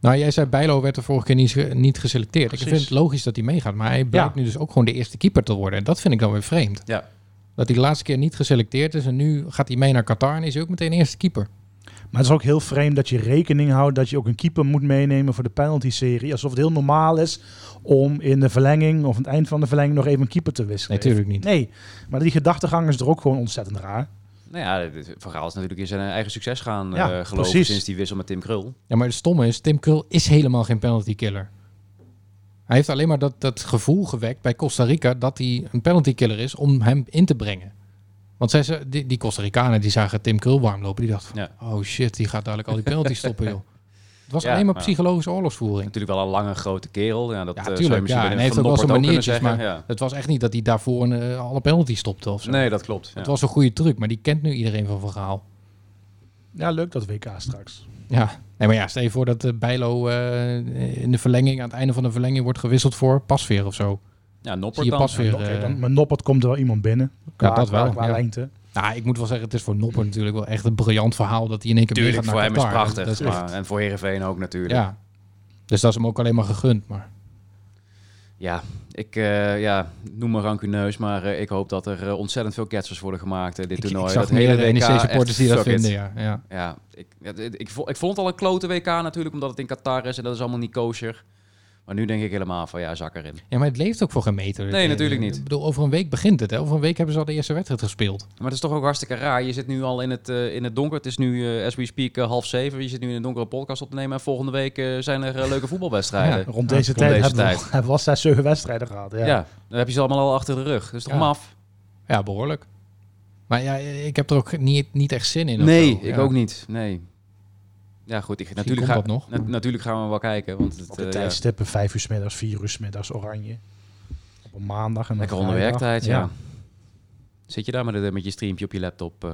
D: Nou, jij zei Bijlo werd de vorige keer niet, ge- niet geselecteerd. Ik
C: Precies.
D: vind het logisch dat hij meegaat. Maar hij blijkt
C: Ja.
D: nu dus ook gewoon de eerste keeper te worden. En dat vind ik dan weer vreemd.
A: Ja.
D: Dat hij de laatste keer niet geselecteerd is. En nu gaat hij mee naar Qatar en is hij ook meteen eerste keeper.
C: Maar het is ook heel vreemd dat je rekening houdt dat je ook een keeper moet meenemen voor de penalty-serie. Alsof het heel normaal is om in de verlenging of aan het eind van de verlenging nog even een keeper te wisselen.
D: Nee, tuurlijk niet.
C: Nee, maar die gedachtegang is er ook gewoon ontzettend raar.
A: Nou ja, dit- Van Gaal is natuurlijk in zijn eigen succes gaan eh
C: Ja,
A: geloven
C: precies.
A: sinds die wissel met Tim Krul.
D: Ja, maar het stomme is, Tim Krul is helemaal geen penalty killer. Hij heeft alleen maar dat, dat gevoel gewekt bij Costa Rica dat hij een penalty killer is om hem in te brengen. Want zij, ze- die, die Costa Ricanen die zagen Tim Krul warm lopen. Die dachten van, oh shit, die gaat dadelijk al die penalty stoppen, joh. Het was
A: Ja,
D: alleen maar
A: maar-
D: psychologische oorlogsvoering.
A: Natuurlijk wel een lange, grote kerel. Ja, dat
D: Ja,
A: eh, zou je
D: tuurlijk.
A: misschien
D: Ja,
A: bij de
D: en hij heeft
A: Van
D: ook wel zijn
A: Noppert ook kunnen
D: maniertjes,
A: zeggen.
D: maar het was echt niet dat hij daarvoor eh, alle penalty stopte of zo.
A: Ja. Nee, dat klopt. Ja.
D: Het was een goede truc, maar die kent nu iedereen van verhaal.
C: Ja, leuk dat WK straks.
D: Ja, nee, maar ja, stel je voor dat eh, Bijlo eh, in de verlenging, aan het einde van de verlenging, wordt gewisseld voor Pasveer of zo.
A: Ja, Noppert
D: Zie je
A: dan.
D: pas weer.
C: Oké,
D: eh,
C: dan, maar Noppert komt er wel iemand binnen. Qua,
D: dat wel,
C: Qua, qua
D: ja.
C: lengte.
D: nou, ik moet wel zeggen, het is voor Nopper natuurlijk wel echt een briljant verhaal dat hij in één keer
A: Tuurlijk,
D: weer
A: voor
D: gaat
A: hem
D: naar
A: is
D: Qatar.
A: prachtig.
D: Dat is
A: maar-
D: echt-
A: en voor Heerenveen ook natuurlijk.
D: ja. Dus dat is hem ook alleen maar gegund. Maar
A: Ja, ik eh, ja, noem me rancuneus, maar eh, ik hoop dat er eh, ontzettend veel catchers worden gemaakt in dit
D: ik,
A: toernooi.
D: ik zag
A: Dat hele
D: meerdere
A: WK
D: NEC-supporters
A: echt,
D: die dat
A: fuck it.
D: vinden. Ja, ja.
A: Ja, ik, ja, dit- ik, vo- ik vond het al een klote WK natuurlijk, omdat het in Qatar is en dat is allemaal niet kosher. Maar nu denk ik helemaal van ja, zak erin.
D: ja, maar het leeft ook voor geen meter.
A: Nee,
D: Eh,
A: natuurlijk niet.
D: Ik bedoel, over een week begint het. Hè? Over een week hebben ze al de eerste wedstrijd gespeeld.
A: Maar het is toch ook hartstikke raar. Je zit nu al in het, eh, in het donker. Het is nu, eh, as we speak, eh, half zeven. Je zit nu in een donkere podcast op te nemen. En volgende week eh, zijn er eh, leuke voetbalwedstrijden.
D: Ja,
C: Rond deze
A: rond
C: tijd
A: deze
C: hebben,
A: tijd.
C: We, hebben we al zes, zeven wedstrijden gehad. Ja.
A: Ja. dan heb je ze allemaal al achter de rug. Dat is toch
D: Ja.
A: maf?
D: Ja, behoorlijk. Maar ja, ik heb er ook niet, niet echt zin in. of
A: Nee,
D: zo.
A: ik
D: Ja.
A: ook niet. Nee. Ja, goed. Ik, natuurlijk,
D: komt
A: ga-
D: dat nog.
A: na- natuurlijk gaan we wel kijken. Want het,
C: Op de
A: eh, ja,
C: tijdstippen, vijf uur 's middags, vier uur 's middags, oranje. Op een maandag en een
A: lekker onder
C: vrijdag.
A: werktijd, ja. Zit je daar met, het- met je streampje op je laptop? eh?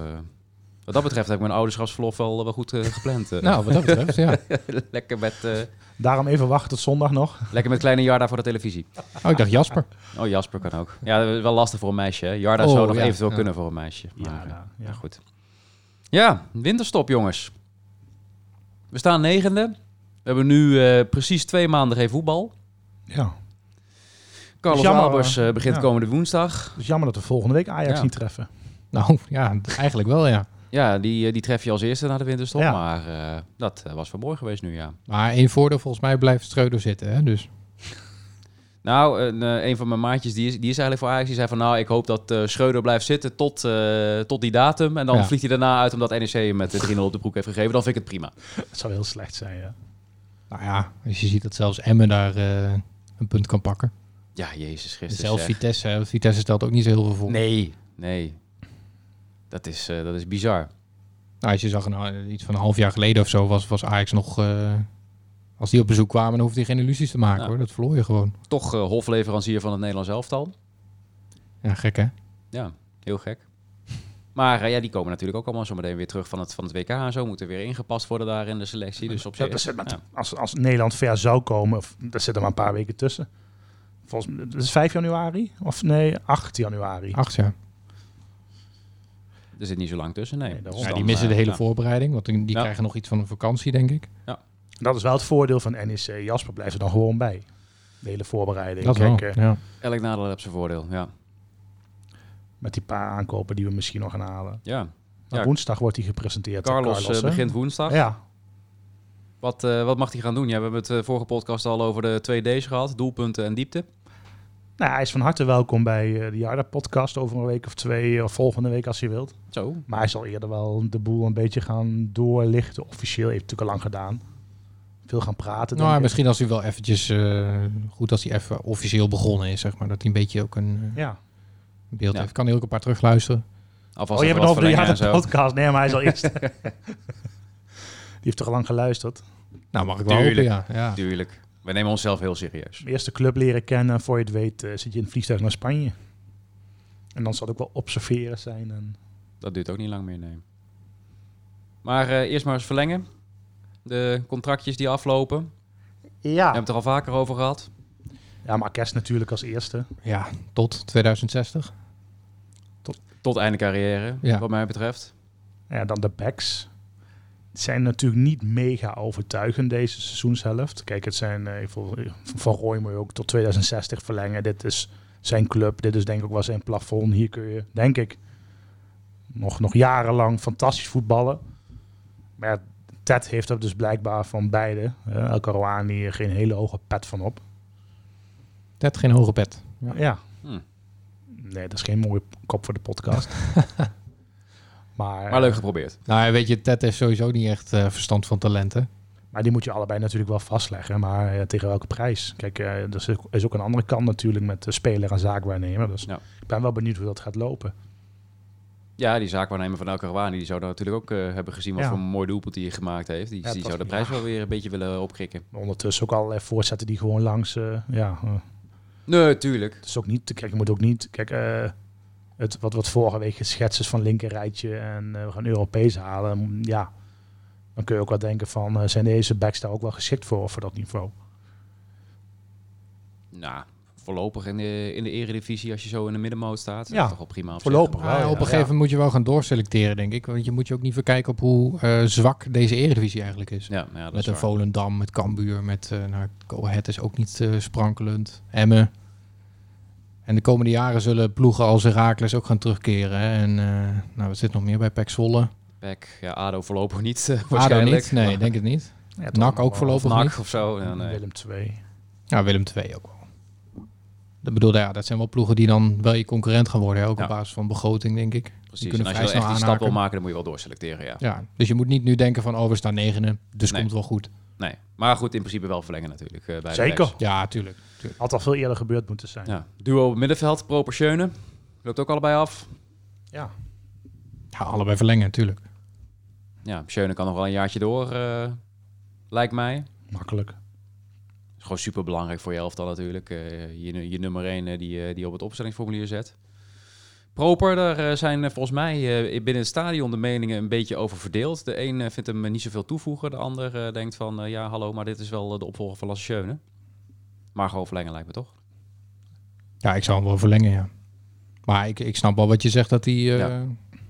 A: wat dat betreft heb ik mijn ouderschapsverlof wel, wel goed eh, gepland. eh.
D: Nou, wat dat betreft, ja.
A: lekker, met, eh,
C: Daarom even wachten tot zondag nog.
A: lekker met kleine Jarda voor de televisie.
D: Oh, ik dacht Jasper.
A: Oh, Jasper kan ook. Ja, dat is wel lastig voor een meisje. hè. Jarda
D: Oh,
A: zou nog
D: ja,
A: eventueel
D: ja.
A: kunnen voor een meisje. Maar,
C: Ja,
A: eh,
C: ja, ja.
A: ja, goed. Ja, winterstop, jongens. We staan negende. We hebben nu eh, precies twee maanden geen voetbal.
C: ja.
A: Carlos
C: Jammer,
A: Albers eh,
C: eh,
A: begint
C: ja.
A: komende woensdag.
C: Het is jammer dat we volgende week Ajax
A: Ja.
C: niet treffen.
D: Nou, ja, eigenlijk wel, ja.
A: Ja, die, eh, die tref je als eerste na de winterstop.
C: Ja.
A: Maar eh, dat eh, was wel mooi geweest nu, ja.
D: Maar één voordeel, volgens mij blijft Streuder zitten, hè. Dus
A: Nou, een, eh, een van mijn maatjes, die is, die is eigenlijk voor Ajax. Die zei van, nou, ik hoop dat eh Schreuder blijft zitten tot, eh, tot die datum. En dan
D: Ja.
A: vliegt hij daarna uit omdat NEC hem met de 3-0 op de broek heeft gegeven. Dan vind ik het prima.
C: Het zou heel slecht zijn, ja.
D: Nou ja, als je ziet dat zelfs Emmen daar eh, een punt kan pakken.
A: Ja, Jezus
D: En
A: Christus.
D: zelfs
A: zeg.
D: Vitesse, hè, want Vitesse stelt ook niet zo heel veel voor.
A: Nee, nee. Dat is, eh, dat is bizar.
D: Nou, als je zag, nou, iets van een half jaar geleden of zo, was, was Ajax nog... eh, als die op bezoek kwamen, dan hoefde hij geen illusies te maken,
A: Ja.
D: hoor. Dat verloor je gewoon.
A: Toch eh, hofleverancier van het Nederlands elftal.
D: Ja, gek, hè?
A: Ja, heel gek. Maar eh, ja, die komen natuurlijk ook allemaal zometeen weer terug van het, van het WK en zo. Moeten weer ingepast worden daar in de selectie. Dus op
C: Ja,
A: zich...
C: dat zit maar
A: ja.
C: als, als Nederland ver zou komen, of, daar zitten maar een paar weken tussen. Volgens mij, dat is 5 januari? Of nee, 8 januari.
D: Acht jaar.
A: Er zit niet zo lang tussen, nee.
C: Nee, daarom.
A: Dus
D: Ja,
A: dan,
D: die missen de
A: eh,
D: hele
A: ja.
D: voorbereiding, want die die
A: Ja.
D: krijgen nog iets van een vakantie, denk ik.
C: Dat is wel het voordeel van NEC. Jasper blijft er dan gewoon bij. De hele voorbereiding.
D: Dat wel,
C: Kijk, eh,
D: ja.
A: Elk nadeel heeft zijn voordeel, ja.
C: met die paar aankopen die we misschien nog gaan halen.
A: ja.
C: Maar
A: Ja.
C: Woensdag wordt hij gepresenteerd. door
A: Carlos, eh,
C: hè?
A: begint woensdag.
C: Ja,
A: Wat, eh, wat mag hij gaan doen? Ja, we hebben het eh, vorige podcast al over de 2D's gehad. Doelpunten en diepte.
C: nou, hij is van harte welkom bij eh, de Jarda podcast over een week of twee, of volgende week als je wilt.
A: Zo.
C: Maar hij zal eerder wel de boel een beetje gaan doorlichten. Officieel heeft hij het natuurlijk al lang gedaan. veel gaan praten.
D: Nou,
C: denk ik.
D: misschien als hij wel eventjes, eh, goed als hij even officieel begonnen is, zeg maar, dat hij een beetje ook een eh,
C: Ja.
D: beeld
A: Ja.
D: heeft. Kan hij ook een paar terugluisteren.
A: Alvast
C: Oh, je
A: even
C: hebt het
A: wat
C: over de, ja,
A: verlengen en zo.
C: de podcast. Nee, maar hij is al eerst. Die heeft toch al lang geluisterd.
D: Nou, mag ik wel
A: Tuurlijk.
D: hopen, ja. ja.
A: Tuurlijk. We nemen onszelf heel serieus.
C: Mijn eerste club leren kennen. en Voor je het weet eh, zit je in het vliegtuig naar Spanje. En dan zal het ook wel observeren zijn. En...
A: Dat duurt ook niet lang meer, nee. Maar eh, eerst maar eens verlengen. De contractjes die aflopen. We hebben
C: Ja.
A: het er al vaker over gehad.
C: ja, maar Kerst natuurlijk als eerste.
D: Ja, tot 2060.
A: Tot einde carrière,
D: Ja.
A: wat mij betreft.
C: Ja, dan de backs. Het zijn natuurlijk niet mega overtuigend deze seizoenshelft. Kijk, het zijn eh, ik vond, eh, Van Rooij moet je ook tot 2060 verlengen. Dit is zijn club. Dit is denk ik ook wel zijn plafond. Hier kun je, denk ik, nog, nog jarenlang fantastisch voetballen. Maar ja, Ted heeft er dus blijkbaar van beide. eh, El Karouani geen hele hoge pet van op.
D: Ted geen hoge pet. Ja.
C: Ja.
A: Hm.
C: Nee, dat is geen mooie kop voor de podcast. maar,
A: Maar leuk geprobeerd.
D: Nou, ja, weet je, Ted heeft sowieso niet echt eh, verstand van talenten.
C: Maar die moet je allebei natuurlijk wel vastleggen. Maar eh, tegen welke prijs? Kijk, eh er is ook- is ook een andere kant natuurlijk met de speler en zaakwaarnemer. Dus
A: Ja.
C: ik ben wel benieuwd hoe dat gaat lopen.
A: Ja, die zaakwaarnemer van El Karouani, die zou daar natuurlijk ook eh, hebben gezien wat
C: Ja.
A: voor een mooi doelpunt hij gemaakt heeft. Die,
C: Ja, het
A: die
C: was-
A: zou de prijs wel weer een beetje willen opkrikken.
C: Maar ondertussen ook allerlei voorzetten die gewoon langs... eh, ja, eh,
A: Nee, tuurlijk.
C: het is ook niet... Kijk, je moet ook niet... Kijk, eh, het, wat, wat vorige week geschetst is van linkerrijtje en eh, we gaan Europees halen. mm, Ja, dan kun je ook wel denken van... eh, zijn deze backs daar ook wel geschikt voor, voor dat niveau?
A: Nou, voorlopig in de, in de eredivisie als je zo in de middenmoot staat. is
C: Ja,
A: dat toch wel prima op zich.
C: Voorlopig wel,
D: Maar Ah, eh, op een
C: ja.
D: gegeven moment moet je wel gaan doorselecteren, denk ik. Want je moet je ook niet verkijken op hoe eh, zwak deze eredivisie eigenlijk is.
A: Ja, ja dat
D: met
A: is
D: een
A: waar.
D: Volendam, met Cambuur, met eh nou, Go Ahead is ook niet eh, sprankelend. Emmen. En de komende jaren zullen ploegen als Heracles ook gaan terugkeren. Hè? En eh, nou, wat zit nog meer bij Pek Zwolle?
A: Pek, ja, ADO voorlopig niet eh,
D: ADO
A: waarschijnlijk.
D: niet? Nee,
A: Maar-
D: denk het niet.
C: Ja, toch eh,
D: NAC ook
C: allemaal-
A: Of
D: voorlopig niet.
A: NAC of zo. Ja, nee.
C: Willem 2.
D: Ja, Willem II ook wel. Dat bedoel, ja, dat zijn wel ploegen die dan wel je concurrent gaan worden. Hè? Ook
A: Ja.
D: op basis van begroting, denk ik.
A: Precies. En
D: kunnen
A: als je
D: vrij
A: dan echt
D: snel
A: die stap wil
D: aanhaken.
A: maken, dan moet je wel doorselecteren, ja.
D: Ja, dus je moet niet nu denken van, oh, we staan negende, dus
A: Nee.
D: komt wel goed.
A: Nee. Maar goed, in principe wel verlengen natuurlijk. eh, bij de
C: Zeker.
A: backs.
D: Ja, tuurlijk.
C: Had al veel eerder gebeurd moeten zijn.
A: Ja. Duo middenveld, proportieunen. Loopt ook allebei af.
C: ja.
D: Ja, allebei verlengen, tuurlijk.
A: Ja, Schöne kan nog wel een jaartje door, eh, lijkt mij.
C: makkelijk.
A: Is gewoon super belangrijk voor je elftal natuurlijk. Eh, je, nu- je nummer 1 die, eh, die je op het opstellingsformulier zet. Proper, daar eh, zijn eh, volgens mij eh, binnen het stadion de meningen een beetje over verdeeld. De een eh, vindt hem eh, niet zoveel toevoegen. De ander eh, denkt van, eh, ja hallo, maar dit is wel eh, de opvolger van Lasse Schöne. Maar gewoon verlengen lijkt me toch?
D: Ja, ik zou hem wel verlengen, ja. Maar ik, ik snap wel wat je zegt, dat hij... eh,
A: Ja.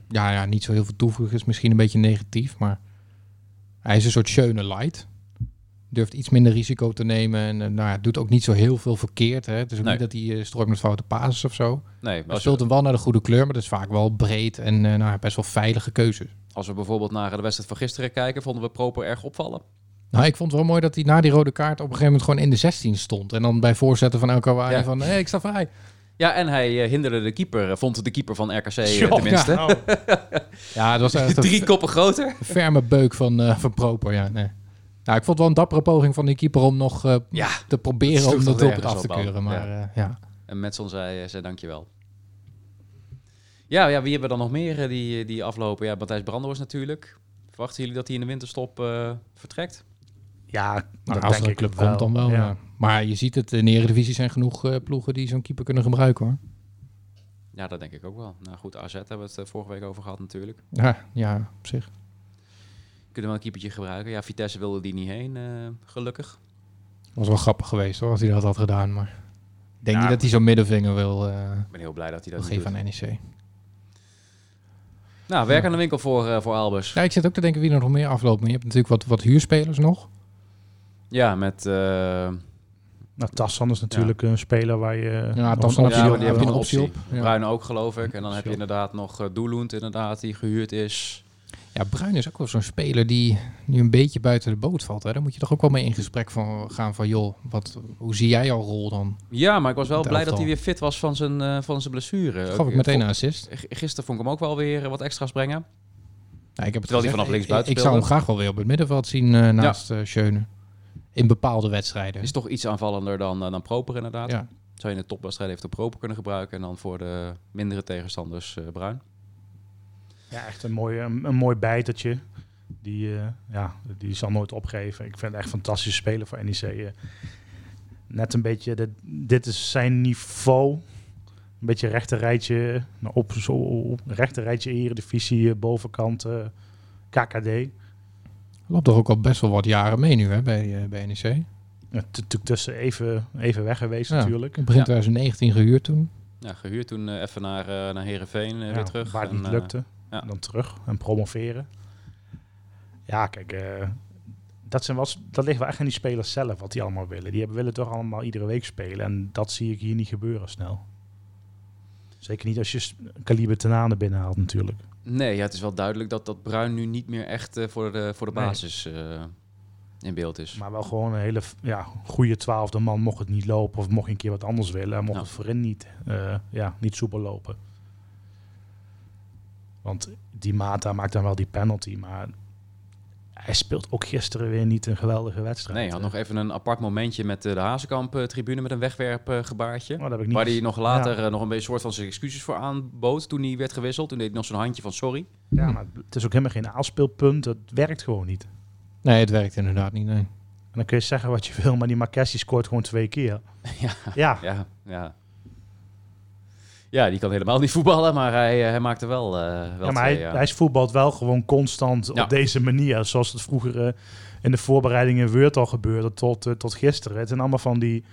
D: ja. Ja, niet zo heel veel toevoegen is misschien een beetje negatief, maar... Hij is een soort Schöne light. Durft iets minder risico te nemen en eh, nou, ja, doet ook niet zo heel veel verkeerd. Hè. Het is ook
A: Nee.
D: niet dat hij eh strooit met foute passes of zo.
A: Nee, maar
D: Hij
A: als je-
D: speelt hem wel naar de goede kleur, maar dat is vaak wel breed en eh, nou, ja, best wel veilige keuzes.
A: Als we bijvoorbeeld naar de wedstrijd van gisteren kijken, vonden we Proper erg opvallen.
D: Nou, ik vond het wel mooi dat hij na die rode kaart op een gegeven moment gewoon in de 16 stond. En dan bij voorzetten van elke waar
A: Ja.
D: van, hé, hey, ik sta vrij.
A: Ja, en hij eh, hinderde de keeper, eh, vond de keeper van RKC eh,
C: Tjoh,
A: tenminste.
C: nou,
D: Ja, het was echt een
A: Drie koppen groter.
D: ferme beuk van, eh, van Proper, ja. Nee. Nou, ik vond het wel een dappere poging van die keeper om nog eh,
A: Ja,
D: te
A: dat
D: proberen
A: sloeg
D: om
A: toch
D: dat doelpunt
A: ergens
D: af te
A: op aan.
D: keuren. Maar eh, ja, ja.
A: En Metson zei, eh, zei dankjewel. Ja, ja, wie hebben we dan nog meer eh, die, die aflopen? Ja, Matthijs Brandoors natuurlijk. Verwachten jullie dat hij in de winterstop eh, vertrekt?
C: Ja,
D: Nou,
C: dat
D: als
C: denk
D: er een
C: ik
D: club
C: wel.
D: komt dan wel.
C: Ja.
D: ja. Maar je ziet het, in de Eredivisie zijn genoeg eh, ploegen die zo'n keeper kunnen gebruiken, hoor.
A: Ja, dat denk ik ook wel. Nou goed, AZ hebben we het eh, vorige week over gehad natuurlijk.
D: Ja, ja op zich.
A: Kunnen we wel een keepertje gebruiken. Ja, Vitesse wilde die niet heen, eh, gelukkig.
D: Was wel grappig geweest, hoor, als hij dat had gedaan. Maar ik denk
C: Ja.
D: niet dat hij zo'n middenvinger wil... eh,
A: Ik ben heel blij dat hij
D: Dat
A: dat
D: geef
A: niet
D: aan E
A: doet.
D: NEC.
A: Nou, werk aan de winkel voor, eh, voor Albers.
D: Ja, ik zit ook te denken wie er nog meer afloopt. Maar je hebt natuurlijk wat, wat huurspelers nog.
A: Ja, met... eh,
C: Nou, Tassan is natuurlijk een speler waar je...
D: Ja, Tassan
A: Ja,
D: heb Nou,
A: maar
D: je-
A: die
D: heb
A: hebben
D: je
A: een
D: een
A: optie.
D: optie op. Ja.
A: Bruin ook, geloof ik. En dan heb je
C: op.
A: inderdaad nog eh, Doelund, inderdaad, die gehuurd is.
D: Ja, Bruin is ook wel zo'n speler die nu een beetje buiten de boot valt. Hè? Daar moet je toch ook wel mee in gesprek van gaan van... joh, wat, hoe zie jij jouw rol dan?
A: Ja, maar ik was wel
D: Het
A: blij dat
D: elftal.
A: hij weer fit was van zijn, eh, van zijn blessure.
D: Gaf ik
A: eh,
D: meteen
A: vond-
D: een assist.
A: G- Gisteren vond ik hem ook wel weer eh, wat extra's brengen.
D: Nou, ik heb
A: Terwijl
D: het
A: hij
D: gezegd,
A: vanaf
D: ik-
A: links buiten
D: Ik, ik zou hem
A: speelde.
D: graag wel weer op het middenveld zien eh, naast eh Schöne. in bepaalde wedstrijden.
A: Is toch iets aanvallender dan, eh, dan Proper inderdaad.
D: ja.
A: Zou je in de topwedstrijd even de Proper kunnen gebruiken en dan voor de mindere tegenstanders eh, Bruin.
C: Ja, echt een mooi, een, een mooi bijtertje. Die, eh, ja, die zal nooit opgeven. Ik vind het echt een fantastische speler voor NEC. eh. Net een beetje, dit, dit is zijn niveau. Een beetje rechter rijtje, eh, nou, op, zo, op, rechter rijtje eredivisie, eh, bovenkant eh, KKD.
D: Loopt toch ook al best wel wat jaren mee nu hè, bij, eh, bij NEC.
C: Ja, t- Natuurlijk tussen even, even weg geweest
D: Ja,
C: natuurlijk.
D: Begin 2019 gehuurd toen.
A: Ja, gehuurd toen eh, even naar, eh naar Heerenveen eh,
C: Ja,
A: weer terug.
C: Waar het
A: En,
C: niet
A: eh,
C: lukte.
A: ja.
C: Dan terug en promoveren. Ja, kijk, eh, dat, zijn wel, s- dat ligt wel echt aan die spelers zelf, wat die allemaal willen. Die hebben, willen toch allemaal iedere week spelen. En dat zie ik hier niet gebeuren snel. Zeker niet als je s- kaliber ten aan binnenhaalt natuurlijk.
A: Nee, ja, het is wel duidelijk dat, dat Bruin nu niet meer echt eh, voor, de, voor de
C: Nee.
A: basis eh, in beeld is.
C: Maar wel gewoon een hele f- ja, goede twaalfde man mocht het niet lopen. Of mocht een keer wat anders willen. En mocht
A: Ja.
C: het voorin niet, eh, ja, niet soepel lopen. Want die Mata maakt dan wel die penalty. Maar hij speelt ook gisteren weer niet een geweldige wedstrijd.
A: nee, hij had
C: Eh,
A: nog even een apart momentje met eh, de Hazekamp-tribune met een wegwerpgebaartje.
C: Oh, dat heb ik niet.
A: Waar hij nog later
C: Ja.
A: eh, nog een beetje soort van zijn excuses voor aanbood toen hij werd gewisseld. Toen deed hij nog zo'n handje van sorry.
C: Ja, maar het is ook helemaal geen aanspeelpunt. Dat werkt gewoon niet.
D: Nee, het werkt inderdaad niet. Nee.
C: En dan kun je zeggen wat je wil, maar die Marques die scoort gewoon twee keer.
A: Ja.
C: Ja,
A: Ja, ja. Ja, die kan helemaal niet voetballen, maar hij, eh, hij maakte wel, eh wel
C: ja maar hij,
A: twee, ja.
C: hij is voetbalt wel gewoon constant
A: Ja.
C: op deze manier. Zoals het vroeger eh, in de voorbereiding in Weurt al gebeurde tot, eh, tot gisteren. Het zijn allemaal van die,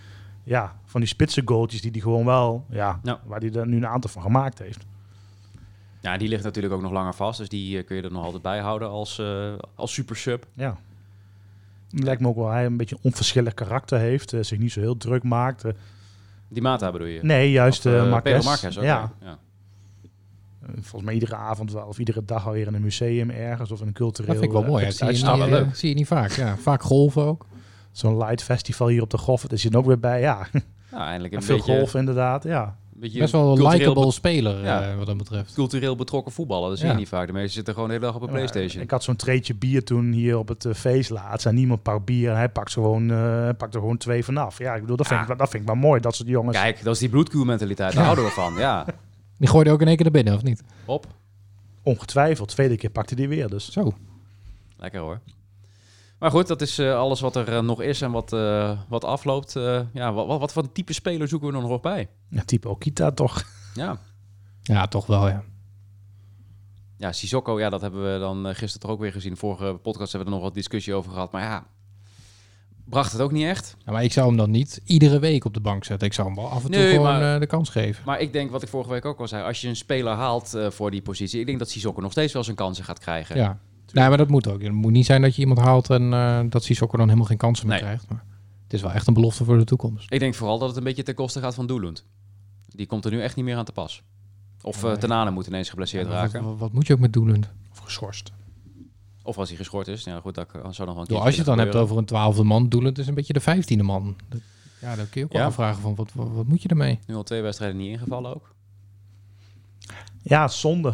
C: ja, van die spitse goaltjes die hij gewoon wel, ja,
A: Ja.
C: waar hij er nu een aantal van gemaakt heeft.
A: Ja, die ligt natuurlijk ook nog langer vast, dus die eh, kun je er nog altijd bij houden als, eh, als super sub.
C: Ja. Het lijkt me ook wel hij een beetje een onverschillig karakter heeft. eh, zich niet zo heel druk maakt. eh.
A: Die Mata bedoel je?
C: nee, juist
A: Of, eh,
C: eh
A: Pedro
C: Marques.
A: Marques, oké.
C: Ja,
A: ja.
C: Eh, volgens mij iedere avond wel of iedere dag alweer in een museum ergens of in een cultureel
D: Dat vind ik wel
C: eh,
D: mooi. hè. Dat zie
C: uit-
D: je, niet,
A: uitstraal
C: uitstapje.
A: wel
D: eh,
A: leuk.
D: zie je niet vaak. Ja. Vaak golven ook.
C: Zo'n light festival hier op de Goffert is er ook weer bij. Ja,
A: Nou, eindelijk een
C: en veel
A: beetje,
C: golf inderdaad. Ja.
A: een beetje
D: Best wel een
A: cultureel
D: likable
A: be-
D: speler
A: Ja.
D: eh, wat dat betreft.
A: cultureel betrokken voetballen. Dat zie je
D: Ja.
A: niet vaak. De meesten zitten gewoon de hele dag op een PlayStation.
C: Ik had zo'n treetje bier toen hier op het eh, feest laatst. En niemand pakt bier en hij pakt, ze gewoon, eh, hij pakt er gewoon twee vanaf. Ja, ik bedoel, dat vind,
A: Ja.
C: ik, wel- dat vind ik wel mooi. Dat soort jongens.
A: Kijk, dat is die bloedkuurmentaliteit. Daar
D: Ja.
A: houden we van. Ja,
D: Die gooide ook in één keer naar binnen, of niet?
A: op.
C: Ongetwijfeld. Tweede keer pakte die weer. Dus
D: Zo.
A: Lekker hoor. Maar goed, dat is eh, alles wat er eh, nog is en wat, eh, wat afloopt. Eh, ja, wat, wat, wat voor type speler zoeken we er nog bij?
C: ja, type Okita toch.
A: Ja.
D: Ja, toch wel, ja.
A: ja, Sissoko, ja, dat hebben we dan eh, gisteren toch ook weer gezien. Vorige podcast hebben we er nog wat discussie over gehad. Maar ja, bracht het ook niet echt.
D: Ja, maar ik zou hem dan niet iedere week op de bank zetten. Ik zou hem wel af en toe
A: Nee,
D: gewoon
A: maar-
D: eh, de kans geven.
A: Maar ik denk, wat ik vorige week ook al zei, als je een speler haalt eh, voor die positie, ik denk dat Sissoko nog steeds wel zijn kansen gaat krijgen.
D: Ja. Nee, maar dat moet ook. Het moet niet zijn dat je iemand haalt en eh dat Sissoko dan helemaal geen kansen meer
A: Nee.
D: krijgt. Maar het is wel echt een belofte voor de toekomst.
A: Ik denk vooral dat het een beetje ten koste gaat van Doelund. Die komt er nu echt niet meer aan te pas. Of eh
D: Nee.
A: Tenane moet ineens geblesseerd
D: Ja, wat,
A: raken.
D: wat- wat moet je ook met Doelend?
C: Of geschorst.
A: Of als hij geschort is. Ja, goed, dat kan- zou nog wel een
D: Door
A: keer
D: als je het dan
A: gebeuren.
D: hebt over een twaalfde man, Doelend is een beetje de vijftiende man. Dat- ja, dan kun je ook wel
A: Ja.
D: afvragen van wat, wat, wat moet je ermee?
A: Nu al twee wedstrijden niet ingevallen ook.
C: Ja, zonde.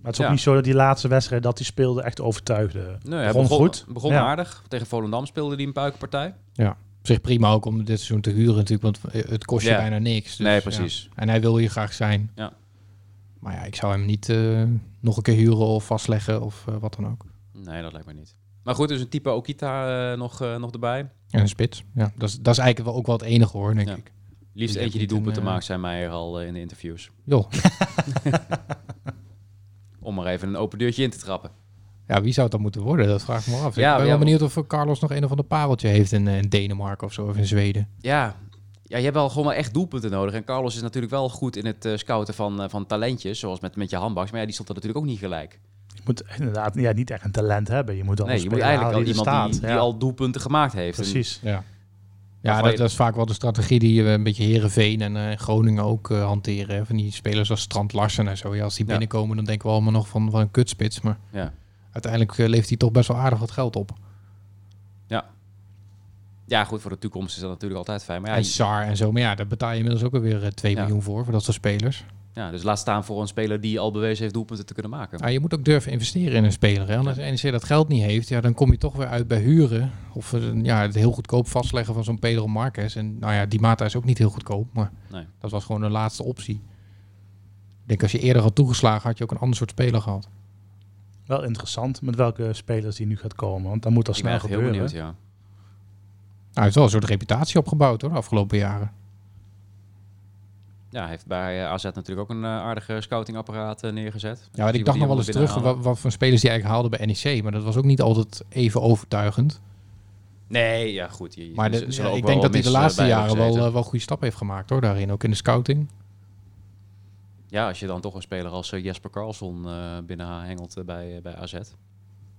C: Maar het is ook
A: Ja.
C: niet zo dat die laatste wedstrijd dat hij speelde echt overtuigde.
A: Nee,
C: Begon goed.
A: Begon
C: Ja.
A: aardig. Tegen Volendam speelde hij een puikenpartij.
D: Op zich prima ook om dit seizoen te huren natuurlijk, want eh, het kost je
A: Ja.
D: bijna niks. Dus,
A: nee,
D: ja.
A: precies.
D: En hij wil hier graag zijn.
A: Ja.
D: Maar ja, ik zou hem niet eh, nog een keer huren of vastleggen of eh, wat dan ook.
A: Nee, dat lijkt me niet. Maar goed, dus een type Okita eh, nog, eh, nog erbij.
D: En een spits. Ja, dat is, dat is eigenlijk wel ook wel het enige hoor, denk
A: Ja.
D: ik.
A: Liefst eentje die
D: Die heeft niet
A: doelpunten
D: een, eh,
A: maakt, zijn mij al eh, in de interviews.
D: Joh,
A: Om maar even een open deurtje in te trappen.
D: ja, wie zou het dan moeten worden? Dat vraag ik me af.
A: Ja,
D: ik ben
A: ja,
D: wel benieuwd of eh, Carlos nog een of ander pareltje heeft in, eh, in Denemarken of zo, of in Zweden.
A: Ja, ja je hebt wel gewoon wel echt doelpunten nodig. En Carlos is natuurlijk wel goed in het eh, scouten van, eh, van talentjes, zoals met, met je handbaks. Maar ja, die stond er natuurlijk ook niet gelijk.
C: Je moet inderdaad ja, niet echt een talent hebben. Je moet wel
A: Nee,
C: een
A: je moet
C: speler
A: eigenlijk
C: halen
A: al
C: die er
A: iemand
C: staat.
A: die, die
C: Ja,
A: al doelpunten gemaakt heeft. En
C: Precies.
D: Ja,
A: Waarvan
D: ja dat,
A: je-
D: dat is vaak wel de strategie die eh, een beetje Herenveen en eh, Groningen ook eh, hanteren. hè. Van die spelers als Strand Larsen en zo. Ja, als die
A: Ja.
D: binnenkomen, dan denken we allemaal nog van, van een kutspits. Maar
A: Ja.
D: uiteindelijk eh, levert hij toch best wel aardig wat geld op.
A: Ja, goed, voor de toekomst is dat natuurlijk altijd fijn. Maar ja,
D: en Sar en zo. Maar ja, daar betaal je inmiddels ook alweer eh, 2
A: Ja.
D: miljoen voor, voor dat soort spelers.
A: Ja, dus laat staan voor een speler die al bewezen heeft doelpunten te kunnen maken.
D: Ja, Ah, je moet ook durven investeren in een speler. Hè? Als NEC dat geld niet heeft, ja, dan kom je toch weer uit bij huren. Of eh, ja, het heel goedkoop vastleggen van zo'n Pedro Marquez. En nou ja, die Mata is ook niet heel goedkoop. Maar
A: Nee.
D: dat was gewoon de laatste optie. Ik denk als je eerder had toegeslagen, had je ook een ander soort speler gehad.
C: Wel interessant met welke spelers die nu gaat komen. Want dan moet dat
A: Ik ben
C: snel
A: echt heel
C: gebeuren.
A: benieuwd, ja.
D: Nou, hij heeft wel een soort reputatie opgebouwd hoor, de afgelopen jaren.
A: Ja, hij heeft bij eh, AZ natuurlijk ook een eh, aardige scoutingapparaat eh, neergezet.
D: Ja, want
A: Zien wat
D: ik
A: die
D: dacht nog wel
A: allemaal
D: eens terug
A: binnenhalen.
D: wat, wat voor spelers die eigenlijk haalden bij NEC. Maar dat was ook niet altijd even overtuigend.
A: Nee, ja, goed. je- je-
D: Maar de-
A: er zullen
D: ja,
A: ook
D: ik
A: wel
D: denk dat hij de
A: mis, eh,
D: laatste
A: bij hebben
D: jaren wel,
A: gezeten.
D: eh, wel goede stappen heeft gemaakt hoor, daarin. Ook in de scouting.
A: Ja, als je dan toch een speler als eh, Jesper Carlson eh binnenhengelt eh, bij, eh, bij AZ.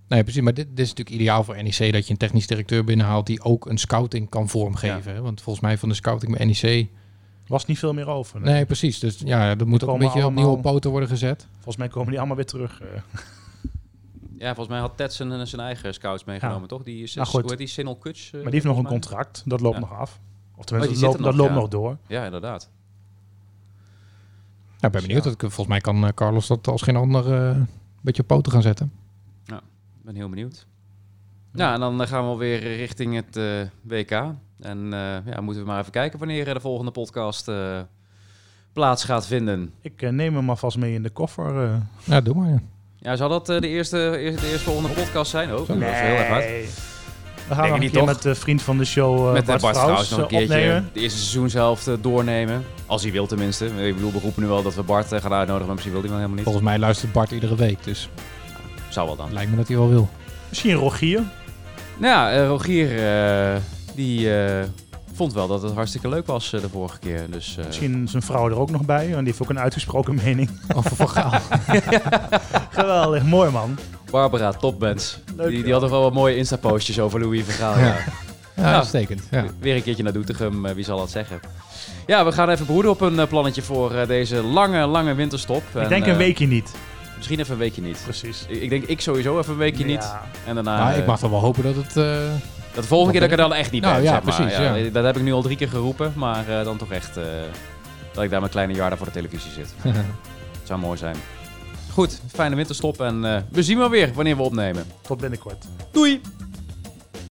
D: Nee, precies. Maar dit, dit is natuurlijk ideaal voor NEC dat je een technisch directeur binnenhaalt die ook een scouting kan vormgeven. hè. Want volgens mij van de scouting bij NEC.
C: Was niet veel meer over.
D: Nee, precies. Dus ja, dat moet ook een
C: komen
D: beetje opnieuw op
C: allemaal-
D: poten worden gezet. Nou,
C: Volgens mij komen die allemaal weer terug. eh.
A: Ja, volgens mij had Ted zijn, zijn eigen scouts meegenomen, toch? Die is,
C: Nou, goed.
A: hoe heet die? Sinel eh, Kuts?
C: maar die heeft nog een contract. Dat loopt
A: Ja. Oh,
C: nog af. Of
A: die
C: tenminste, dat
A: zit
C: loopt,
A: er
C: dat
A: nog,
C: loopt
A: ja.
C: nog door.
A: Ja, inderdaad.
D: Nou, ik
C: Dus
D: ben benieuwd. Dat, ik- volgens mij kan eh, Carlos dat als geen ander eh, een beetje op poten gaan zetten.
A: Ik ben heel benieuwd. Nou, en dan eh, gaan we alweer richting het eh, WK. En eh, ja, moeten we maar even kijken wanneer eh, de volgende podcast eh, plaats gaat vinden.
C: Ik eh, neem hem alvast mee in de koffer. eh.
D: Ja, doe maar. Ja.
A: Ja, zal dat eh, de eerste, eerste, de eerste volgende podcast zijn? Oh, dat is heel erg hard.
C: We gaan nog
A: ik
C: een
A: niet,
C: keer
A: toch?
C: met de vriend van de show eh
A: Met Bart,
C: Bart
A: Bart trouwens
C: Vrouws
A: nog een
C: eh,
A: keertje
C: opnemen.
A: de eerste seizoenshelft eh, doornemen. Als hij wil tenminste. Ik bedoel, we roepen nu wel dat we Bart eh, gaan uitnodigen, maar misschien wil hij wel helemaal niet.
D: Volgens mij luistert Bart iedere week. Dus
A: Zou wel dan.
D: het lijkt me dat hij wel wil.
C: Misschien Rogier.
A: Nou ja, eh, Rogier eh, die eh, vond wel dat het hartstikke leuk was eh, de vorige keer. Dus eh,
C: Misschien zijn vrouw er ook nog bij. Want die heeft ook een uitgesproken mening.
D: Over Van Gaal.
C: Geweldig, mooi man.
A: Barbara Topbands.
C: Leuk,
A: die, die
C: ja.
A: had toch wel wat mooie Insta-postjes over Louis van Gaal.
D: Ja.
A: ja. Ah,
D: Ja, uitstekend. Ja.
A: Weer een keertje naar Doetinchem, eh, wie zal dat zeggen. Ja, we gaan even broeden op een eh, plannetje voor eh, deze lange, lange winterstop.
C: Ik denk
A: week.
C: een weekje niet.
A: Misschien even een weekje niet.
C: Precies.
A: Ik, ik denk ik sowieso even een weekje niet.
C: Ja. Nou,
A: En daarna...
D: Maar ik
A: eh,
D: mag dan wel hopen dat het... eh,
A: Dat de volgende
D: Wat
A: keer dat ik er dan echt niet
D: Nou
A: ben,
D: ja,
A: zeg maar.
D: precies, ja.
A: Dat heb ik nu al drie keer geroepen, maar eh, dan toch echt eh, dat ik daar mijn kleine jaar voor de televisie zit. Zou mooi zijn. Goed, fijne winterstop en eh, we zien wel weer wanneer we opnemen.
C: Tot binnenkort.
A: Doei!